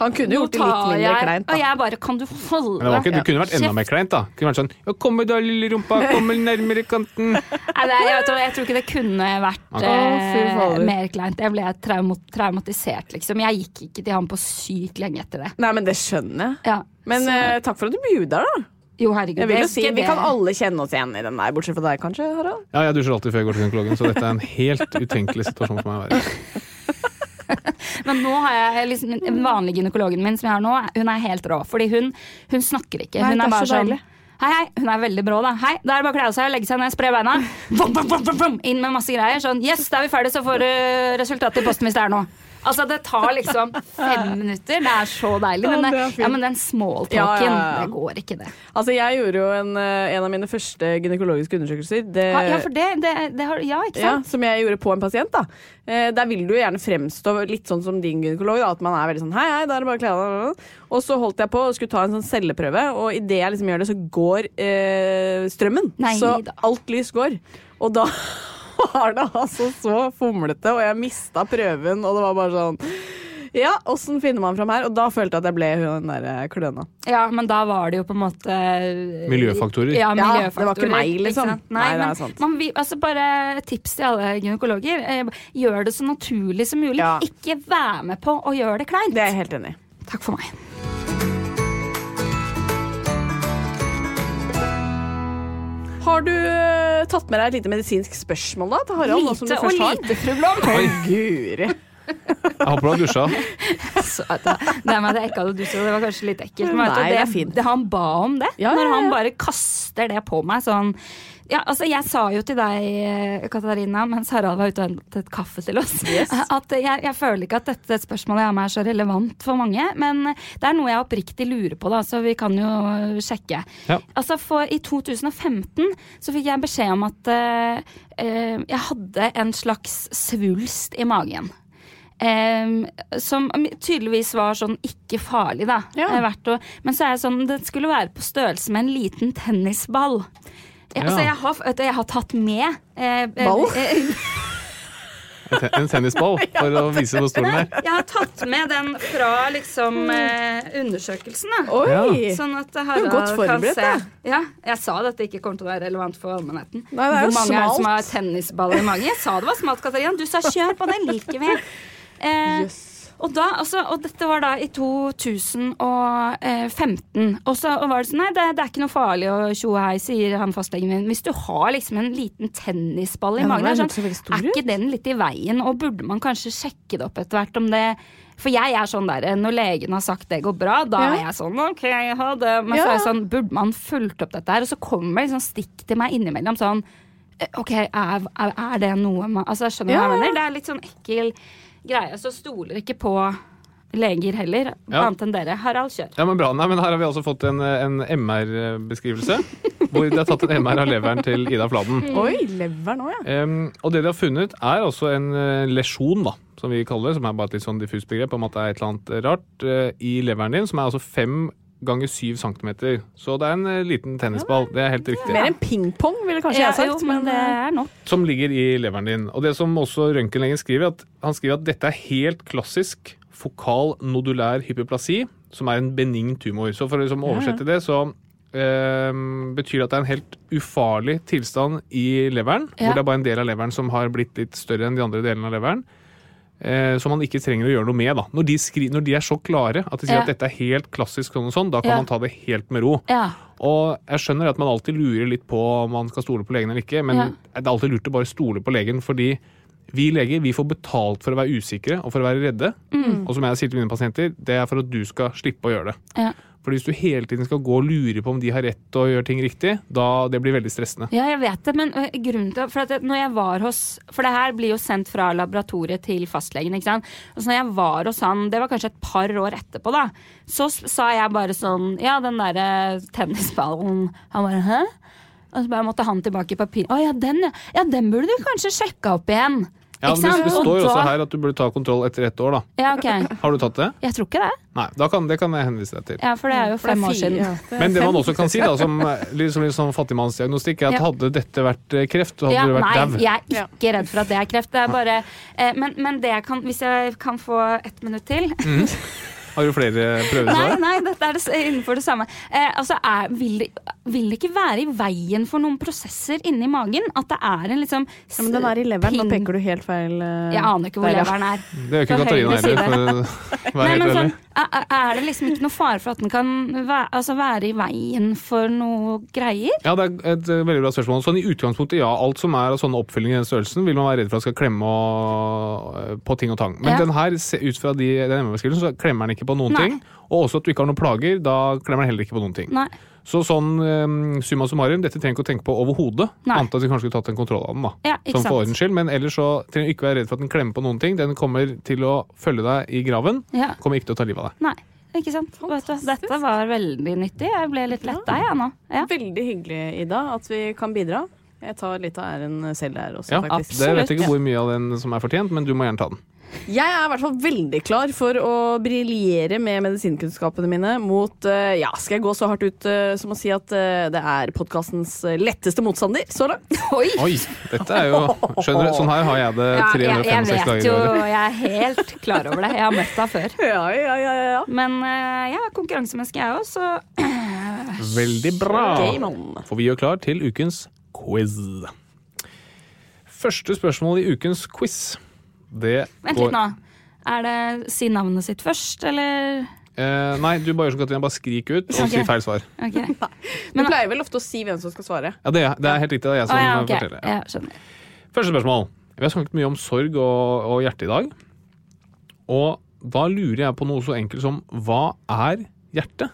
Han kunne nå gjort det litt tar mindre jeg- kleint, da. Og jeg bare Kan du holde Men det, var ikke, det kunne vært enda kjeft? mer kleint, da. Det kunne vært sånn ja, 'Kom da, lille rumpa, kom nærmere kanten'. (laughs) Nei, det, jeg, vet, hva, jeg tror ikke det kunne vært Ok. eh, Å, fy fader. mer kleint. Jeg ble traumot, traumatisert, liksom. Jeg gikk ikke til ham på sykt lenge etter det. Nei, men det skjønner jeg. (laughs) Ja, Men så, eh, takk for at du bjuder, da. jo, herregud. Jeg vil det jo er si, ikke Vi det. kan alle kjenne oss igjen i den der, bortsett fra deg kanskje, Harald. Ja, jeg dusjer alltid før jeg går til gynekologen, så dette er en helt utenkelig situasjon for meg å være i. Men nå har jeg liksom Mm. den vanlige gynekologen min som jeg har nå, hun er helt rå. Fordi hun, hun snakker ikke. Nei, Hun det er er bare så sånn deilig. Hei, hei. Hun er veldig brå, da. Hei, Da er det bare å kle av seg, legge seg ned, spre beina. Vom, vom, vom, vom, vom, inn med masse greier. Sånn yes, da er vi ferdige, så får du resultatet i posten hvis det er noe. Altså, det tar liksom fem minutter. Det er så deilig. Ja, Men, det det, er fint. ja, men den smalltalken, Ja, ja, ja. det går ikke, det. Altså, Jeg gjorde jo en, eh, en av mine første gynekologiske undersøkelser. Det, Ja, ja, for det, det, det har Ja, ikke ja, sant? som jeg gjorde på en pasient. da. Eh, der vil du jo gjerne fremstå litt sånn som din gynekolog. da, At man er veldig sånn hei, hei, da er det bare å kle av deg. Og så holdt jeg på og skulle ta en sånn celleprøve, og idet jeg liksom gjør det, så går eh, strømmen. Nei så da. alt lys går. Og da (laughs) var det altså så fomlete, og jeg mista prøven, og det var bare sånn ja, åssen finner man fram her? Og da følte jeg at jeg ble hun den der eh, kløna. Ja. men da var det jo på en måte eh, Miljøfaktorer. Ja, Ja, det var miljøfaktorer. ikke meg, ikke liksom. sant? Nei, Nei, det er men, sant. Man, vil- altså bare et tips til alle gynekologer. eh, Gjør det så naturlig som mulig. Ja. Ikke vær med på å gjøre det kleint. Det er jeg helt enig i. Takk for meg. Har du eh, tatt med deg et lite medisinsk spørsmål da, til Harald? nå som du Lite og først har? lite, fru Blom. Å, guri. Jeg håper du har dusja. Så at jeg- Nei, men det, ekka, du, så det var kanskje litt ekkelt. Men vet du, Nei, det er fint. han ba om det. Ja, ja, Når ja. han bare kaster det på meg sånn Ja, altså Jeg sa jo til deg, eh, Katarina, mens Harald var ute og hentet kaffe til oss, (laughs) at jeg, jeg føler ikke at dette spørsmålet jeg har med er så relevant for mange. Men det er noe jeg oppriktig lurer på, da, så vi kan jo sjekke. Ja. Altså for I 2015 så fikk jeg beskjed om at eh, eh, jeg hadde en slags svulst i magen. Eh, som tydeligvis var sånn ikke farlig, da. Eh, verdt å, men så er jeg sånn, det skulle være på størrelse med en liten tennisball. Ja. Altså, Ja. jeg har, vet du, jeg har tatt med eh, eh, Ball? eh, En te- En tennisball, for å vise hvor stor den Nei, er. (laughs) jeg har tatt med den fra liksom eh, undersøkelsen, da. Hmm. Oi! Sånn at Du er godt Harald kan forberedt, se. da. Ja, jeg sa dette ikke kommer til å være relevant for allmennheten. Nei, det er jo Hvor mange er det som smalt. har tennisball i magen? Jeg sa det var smalt, Katarina. Du sa kjør på, det liker (laughs) vi. Eh, og, da, altså, og dette var da i 2015. eh, Og så var det sånn Nei, det, det er ikke noe farlig å tjo og hei, sier han fastlegen min. Hvis du har liksom en liten tennisball i Ja, den magen, var er, jo sånn, ikke så veldig stor er ut. ikke den litt i veien? Og burde man kanskje sjekke det opp etter hvert om det For jeg er sånn der når legen har sagt det går bra, da Ja. er jeg sånn OK, ha det. Men Ja. så er jeg sånn Burde man fulgt opp dette her? Og så kommer det liksom stikk til meg innimellom sånn eh, OK, er, er, er det noe man Altså, skjønner du Ja, hva jeg ja. mener? Det er litt sånn ekkel greie. Så stoler ikke på leger heller, Ja. annet enn dere. Harald, kjør. Ja, men bra. Nei, men her har vi altså fått en, en MR-beskrivelse, hvor de har tatt en MR av leveren til Ida Fladen. Oi, lever nå, ja. Em, og det de har funnet, er altså en eh, lesjon, da, som vi kaller det, som er bare et litt sånn diffust begrep om at det er et eller annet eh, rart, eh, i leveren din, som er altså fem ganger syv centimeter. Så det er en eh, liten tennisball. Det er helt riktig. Mer enn pingpong, ville kanskje jeg jo, sagt. men det eh, er nok. Som ligger i leveren din. Og det som også røntgenlegen skriver, at han skriver at dette er helt klassisk fokal nodulær hyperplasi, som er en benign tumor. Så for å liksom oversette det, så ehm, betyr det at det er en helt ufarlig tilstand i leveren, Ja. hvor det er bare en del av leveren som har blitt litt større enn de andre delene av leveren. eh, som man ikke trenger å gjøre noe med. da. Når de, skri når de er så klare at de sier Ja. at dette er helt klassisk sånn og sånn, da kan Ja. man ta det helt med ro. Ja. Og jeg skjønner at man alltid lurer litt på om man skal stole på legen eller ikke, men Ja. det er alltid lurt å bare stole på legen, fordi vi leger vi får betalt for å være usikre og for å være redde. Mm. Og som jeg sier til mine pasienter, det er for at du skal slippe å gjøre det. Ja. For hvis du hele tiden skal gå og lure på om de har rett og gjør ting riktig, da det blir veldig stressende. Ja, jeg vet det, men ø, grunnen til For at jeg- når jeg var hos For det her blir jo sendt fra laboratoriet til fastlegen, ikke sant. Og så når jeg var hos han, det var kanskje et par år etterpå, da, så s- sa jeg bare sånn Ja, den derre tennisballen Han bare Hæ? Og så bare måtte han tilbake i papir. Å ja, den, ja. ja, den burde du kanskje sjekka opp igjen. Ja, Ikke men det, sant? det Og står jo også da- her at du burde ta kontroll etter ett år, da. Ja, ok. Har du tatt det? Jeg tror ikke det. Nei, da kan, det kan jeg henvise deg til. Ja, for det er jo for det er fem år fi- siden. ja, det er Men det fem- man også kan si, da, som litt som litt sånn fattigmannsdiagnostikk, er at Ja. hadde dette vært eh, kreft, hadde Ja, du vært nei, dau. jeg er ikke redd for at det er kreft. Det er bare, eh, men men det jeg kan, hvis jeg kan få ett minutt til (laughs) Mm, Har du flere prøvesvar? Nei, nei, dette er det, s- innenfor det samme. Eh, altså, er, vil, det- vil det ikke være i veien for noen prosesser inni magen? At det er en liksom Ja, men den er i leveren. Nå peker du helt feil. eh, Jeg aner ikke der, hvor ja. leveren er. Det gjør ikke Fra Katarina høyre heller, (laughs) side. for å være Nei, helt men ærlig. sånn, er, er- er det liksom ikke noe fare for at den kan være, altså være i veien for noe greier? Ja, det er et eh, veldig bra spørsmål. Sånn I utgangspunktet, ja. Alt som er av sånne oppfyllinger i den størrelsen, vil man være redd for at skal klemme og, eh, på ting og tang. Men Ja. den her, se- ut fra de, den MR-beskrivelsen, så klemmer den ikke på noen Nei. ting. Og også at du ikke har noen plager, da klemmer den heller ikke på noen ting. Nei. Så sånn eh, summa summarum, dette trenger du ikke å tenke på overhodet. Nei. Annet at vi kanskje skulle tatt en kontroll av den, da. Ja, ikke sånn for sant. ordens skyld. Men ellers så trenger du ikke være redd for at den klemmer på noen ting. Den kommer til å følge deg i graven. Ja. Kommer ikke til å ta livet av deg. Nei. Ikke sant? Vet du, dette var veldig nyttig. Jeg ble litt letta, jeg nå. Ja. Veldig hyggelig, Ida, at vi kan bidra. Jeg tar litt av æren selv her også, Ja, faktisk. det vet jeg Absolutt. ikke hvor mye av den som er fortjent, men du må gjerne ta den. Jeg er i hvert fall veldig klar for å briljere med medisinkunnskapene mine mot eh, Ja, skal jeg gå så hardt ut eh, som å si at eh, det er podkastens letteste motstander så langt? (laughs) Oi! Oi, dette er (laughs) jo Skjønner du, sånn her har jeg det Ja, jeg, jeg 365 vet dager i jo, året. jeg er helt klar over det. Jeg har møtt deg før. Ja, ja, ja, ja, ja. Men eh, jeg er konkurransemenneske, jeg òg, så Veldig bra. Game on. For vi gjør klar til ukens quiz. Første spørsmål i ukens quiz, det vent litt nå. Er det si navnet sitt først, eller? Eh, nei, du bare gjør som Katrina, bare skrik ut og si Ok. feil svar. (laughs) Ok. Å Du pleier vel ofte å si hvem som skal svare. Ja, det er, det er helt riktig. Det er jeg som ja, ok. forteller. Ja, skjønner. Første spørsmål. Vi har snakket mye om sorg og, og hjerte i dag. Og da lurer jeg på noe så enkelt som hva er hjerte?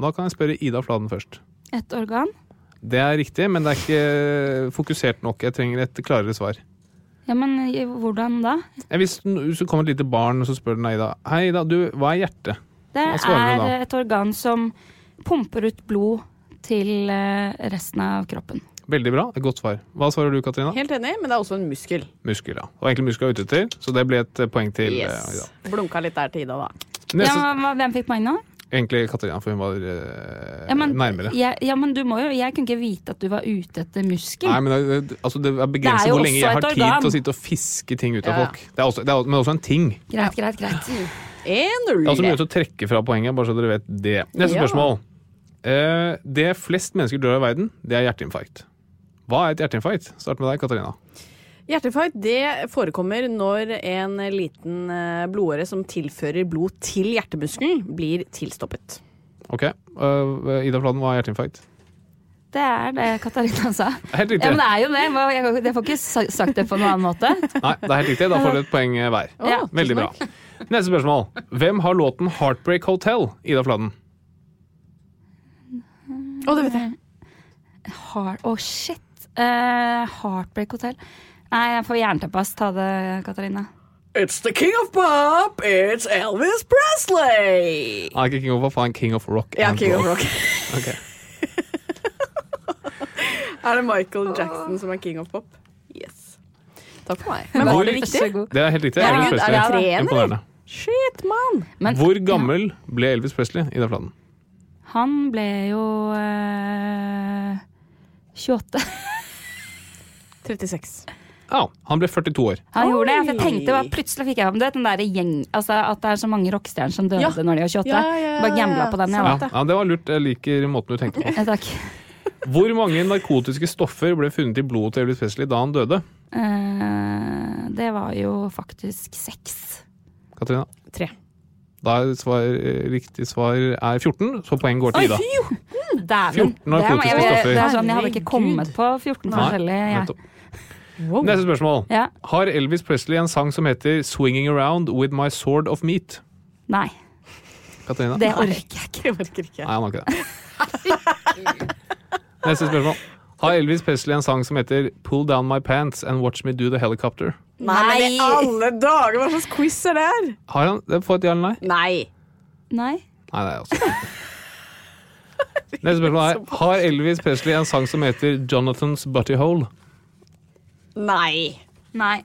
Da kan jeg spørre Ida Fladen først. Et organ? Det er riktig, men det er ikke fokusert nok. Jeg trenger et klarere svar. Ja, men i- hvordan da? Eh, Hvis, n- hvis det kommer et lite barn og så spør den Aida Hei, Aida, du, hva er hjerte? Det Hva svarer du da? er et organ som pumper ut blod til eh, resten av kroppen. Veldig bra. Et godt svar. Hva svarer du, Katrina? Helt enig, men det er også en muskel. Muskel, ja. Og egentlig muskel er ute etter, så det ble et eh, poeng til eh, Aida. Blunka litt der til Ida, da. Ja, Neste, men hva- hvem fikk poeng nå? Egentlig Katrina, for hun var eh, Ja, men, nærmere. Ja, ja, men du må jo, jeg kunne ikke vite at du var ute etter muskel. Nei, men det, det, altså det er Det er begrenset jo hvor lenge også jeg har et tid organ. til å sitte og fiske ting ut av Ja, ja. folk. Det er også, det er, men også en ting. Greit, greit, greit. Det er også 1-0. mulig å trekke fra poenget, bare så dere vet det. Neste Ja. spørsmål. Eh, det flest mennesker dør av i verden, det er hjerteinfarkt. Hva er et hjerteinfarkt? Start med deg, Katarina. Hjerteinfarkt det forekommer når en liten eh, blodåre som tilfører blod til hjertemuskelen, blir tilstoppet. Ok, eh, Ida Fladen, hva er hjerteinfarkt? Det er det Katarina sa. Helt Ja, riktig. men det er jo det. Hva- Jeg kan- jeg får ikke sa- sagt det på noen annen måte. Nei, det er helt riktig. Da får dere et poeng eh, hver. Ja. Veldig bra. Neste spørsmål. Hvem har låten 'Heartbreak Hotel'? Ida Fladen. Å, det vet jeg. Heart, oh shit. Eh, Heartbreak Hotel. Nei, jeg får jerntepass. Ta det, Katarina. It's the king of pop, it's Elvis Presley! Nei, ikke King of Hva faen? King of Rock. Ja, and king of roll. rock. (laughs) Ok. Er det Michael Jackson som er king of pop? Yes. Takk for meg. Men Hvor- var det Så riktig? god. Det er helt riktig. Ja, Elvis men er det Presley. trener? Imponerende. Shit, mann! Men Hvor gammel ble Elvis Presley? Ida Fladen. han ble jo eh, 28. 36. Ja, han ble 42 år. Han gjorde det. for Jeg Oi. tenkte bare, plutselig fikk jeg om det. Den der gjeng, altså, at det er så mange rockestjerner som døde Ja. når de var 28. Ja, ja, ja, Bare gambla ja. på den. Ja, Jeg, da. Sant det. ja, Det var lurt. Jeg liker måten du (laughs) tenkte på. ja, takk. Hvor mange narkotiske stoffer ble funnet i blodet til Elvis Presley da han døde? Eh, det var jo faktisk seks. Katarina? Tre. Da er svar, eh, riktig svar er 14, så poeng går til Ida. Dæven. 14 narkotiske det, må jeg- stoffer. det er sånn, jeg hadde Herregud. ikke kommet på 14 Nei, forskjellige. Jeg. nettopp. Neste spørsmål. Ja. Har Elvis Presley en sang som heter 'Swinging Around With My Sword of Meat'? Nei, Katarina? det orker jeg ikke. Jeg orker ikke. Nei, han har ikke det. (laughs) Neste spørsmål. Har Elvis Presley en sang som heter 'Pull Down My Pants And Watch Me Do The Helicopter'? Nei, men i alle dager, hva slags quiz er det her? Har han det? Få et ja eller nei? Nei. Nei. Nei, det er også Neste spørsmål er Har Elvis Presley en sang som heter 'Jonathan's Buttyhole'? Nei. Nei.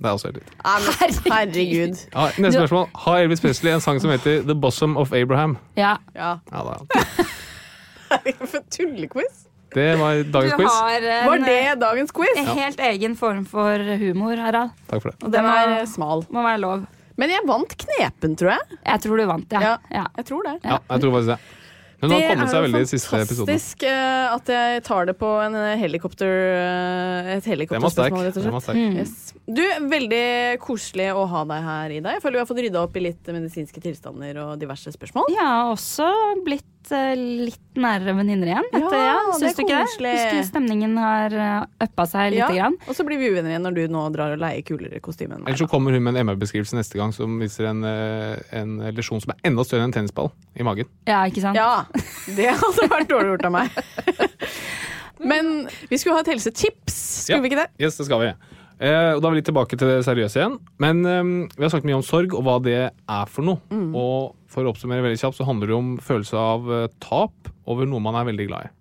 Det er også helt riktig. Nei, men Herregud. Ja, neste spørsmål. Har Elvis Presley en sang som heter 'The Bosom of Abraham'? Ja. Ja. Ja, da. For tullequiz? Det var dagens quiz. en Var det dagens quiz? eh, helt egen form for humor, Harald. Takk for det. det Den er var- eh, smal. Må være lov. Men jeg vant knepen, tror jeg. Jeg tror du vant, ja. ja. Jeg tror det. Ja, jeg tror faktisk det. Hun har kommet seg jo veldig i siste episoden. fantastisk eh, at jeg tar det på en eh, helikopter eh, et Den var sterk. helikopterspørsmål, rett og Den var slett. Mm. sterk. Yes. Du, veldig koselig å ha deg her, Ida. Jeg føler vi har fått rydda opp i litt medisinske tilstander og diverse spørsmål. Jeg har også blitt eh, litt nærere venninner igjen. Etter, ja, Ja, det Syns er du ikke det? koselig. Husker stemningen har eh, uppa seg lite Ja, grann. Og så blir vi uvenner igjen når du nå drar og leier kulere kostyme enn meg. Ellers så kommer hun med en MR-beskrivelse neste gang som viser en, eh, en lesjon som er enda større enn en tennisball i magen. Ja, ikke sant? Ja, det hadde vært dårlig gjort av meg. (laughs) Men vi skulle ha et helsetips, skulle Ja. vi ikke det? Yes, det skal vi. Eh, og Da er vi litt tilbake til det seriøse igjen. Men eh, vi har snakket mye om sorg og hva det er for noe. Mm. Og for å oppsummere veldig kjapt så handler det om følelse av eh, tap over noe man er veldig glad i.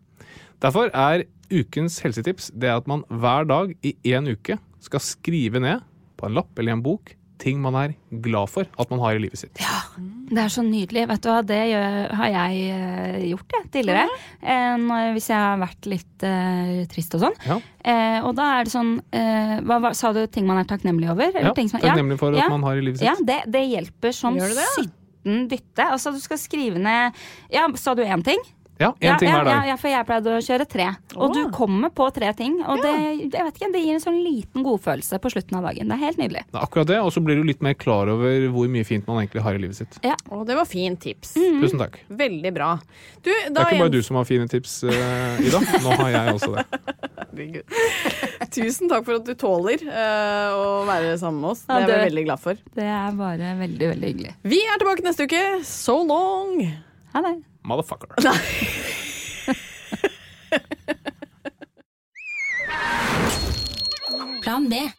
Derfor er ukens helsetips det at man hver dag i én uke skal skrive ned på en lapp eller i en bok ting man er glad for at man har i livet sitt. Det er så nydelig. Vet du hva, det gjør, har jeg eh, gjort jeg, tidligere. Eh, når, hvis jeg har vært litt eh, trist og sånn. Ja. Eh, og da er det sånn eh, hva, hva, Sa du ting man er takknemlig over? Eller Ja, ting som, Takknemlig for at ja, man har i livet sitt. Ja, det, det hjelper som Gjør det det, ja? sytten dytte. Altså, du skal skrive ned Ja, sa du én ting? Ja, én ja, ting ja, hver dag. Ja, ja, for jeg pleide å kjøre tre. Og du kommer på tre ting. Og det, jeg vet ikke, det gir en sånn liten godfølelse på slutten av dagen. Det er helt nydelig. Det er akkurat det, og så blir du litt mer klar over hvor mye fint man egentlig har i livet sitt. Å, det var fint tips. Tusen takk. Veldig bra. Du, Det da er ikke igjen- bare du som har fine tips, eh, Ida. Nå har jeg også det. Herregud. (laughs) Tusen takk for at du tåler eh, å være sammen med oss. Det Ja, er vi det- veldig glad for. Det er bare veldig, veldig hyggelig. Vi er tilbake neste uke. So long! Ha det. Motherfucker. plan B.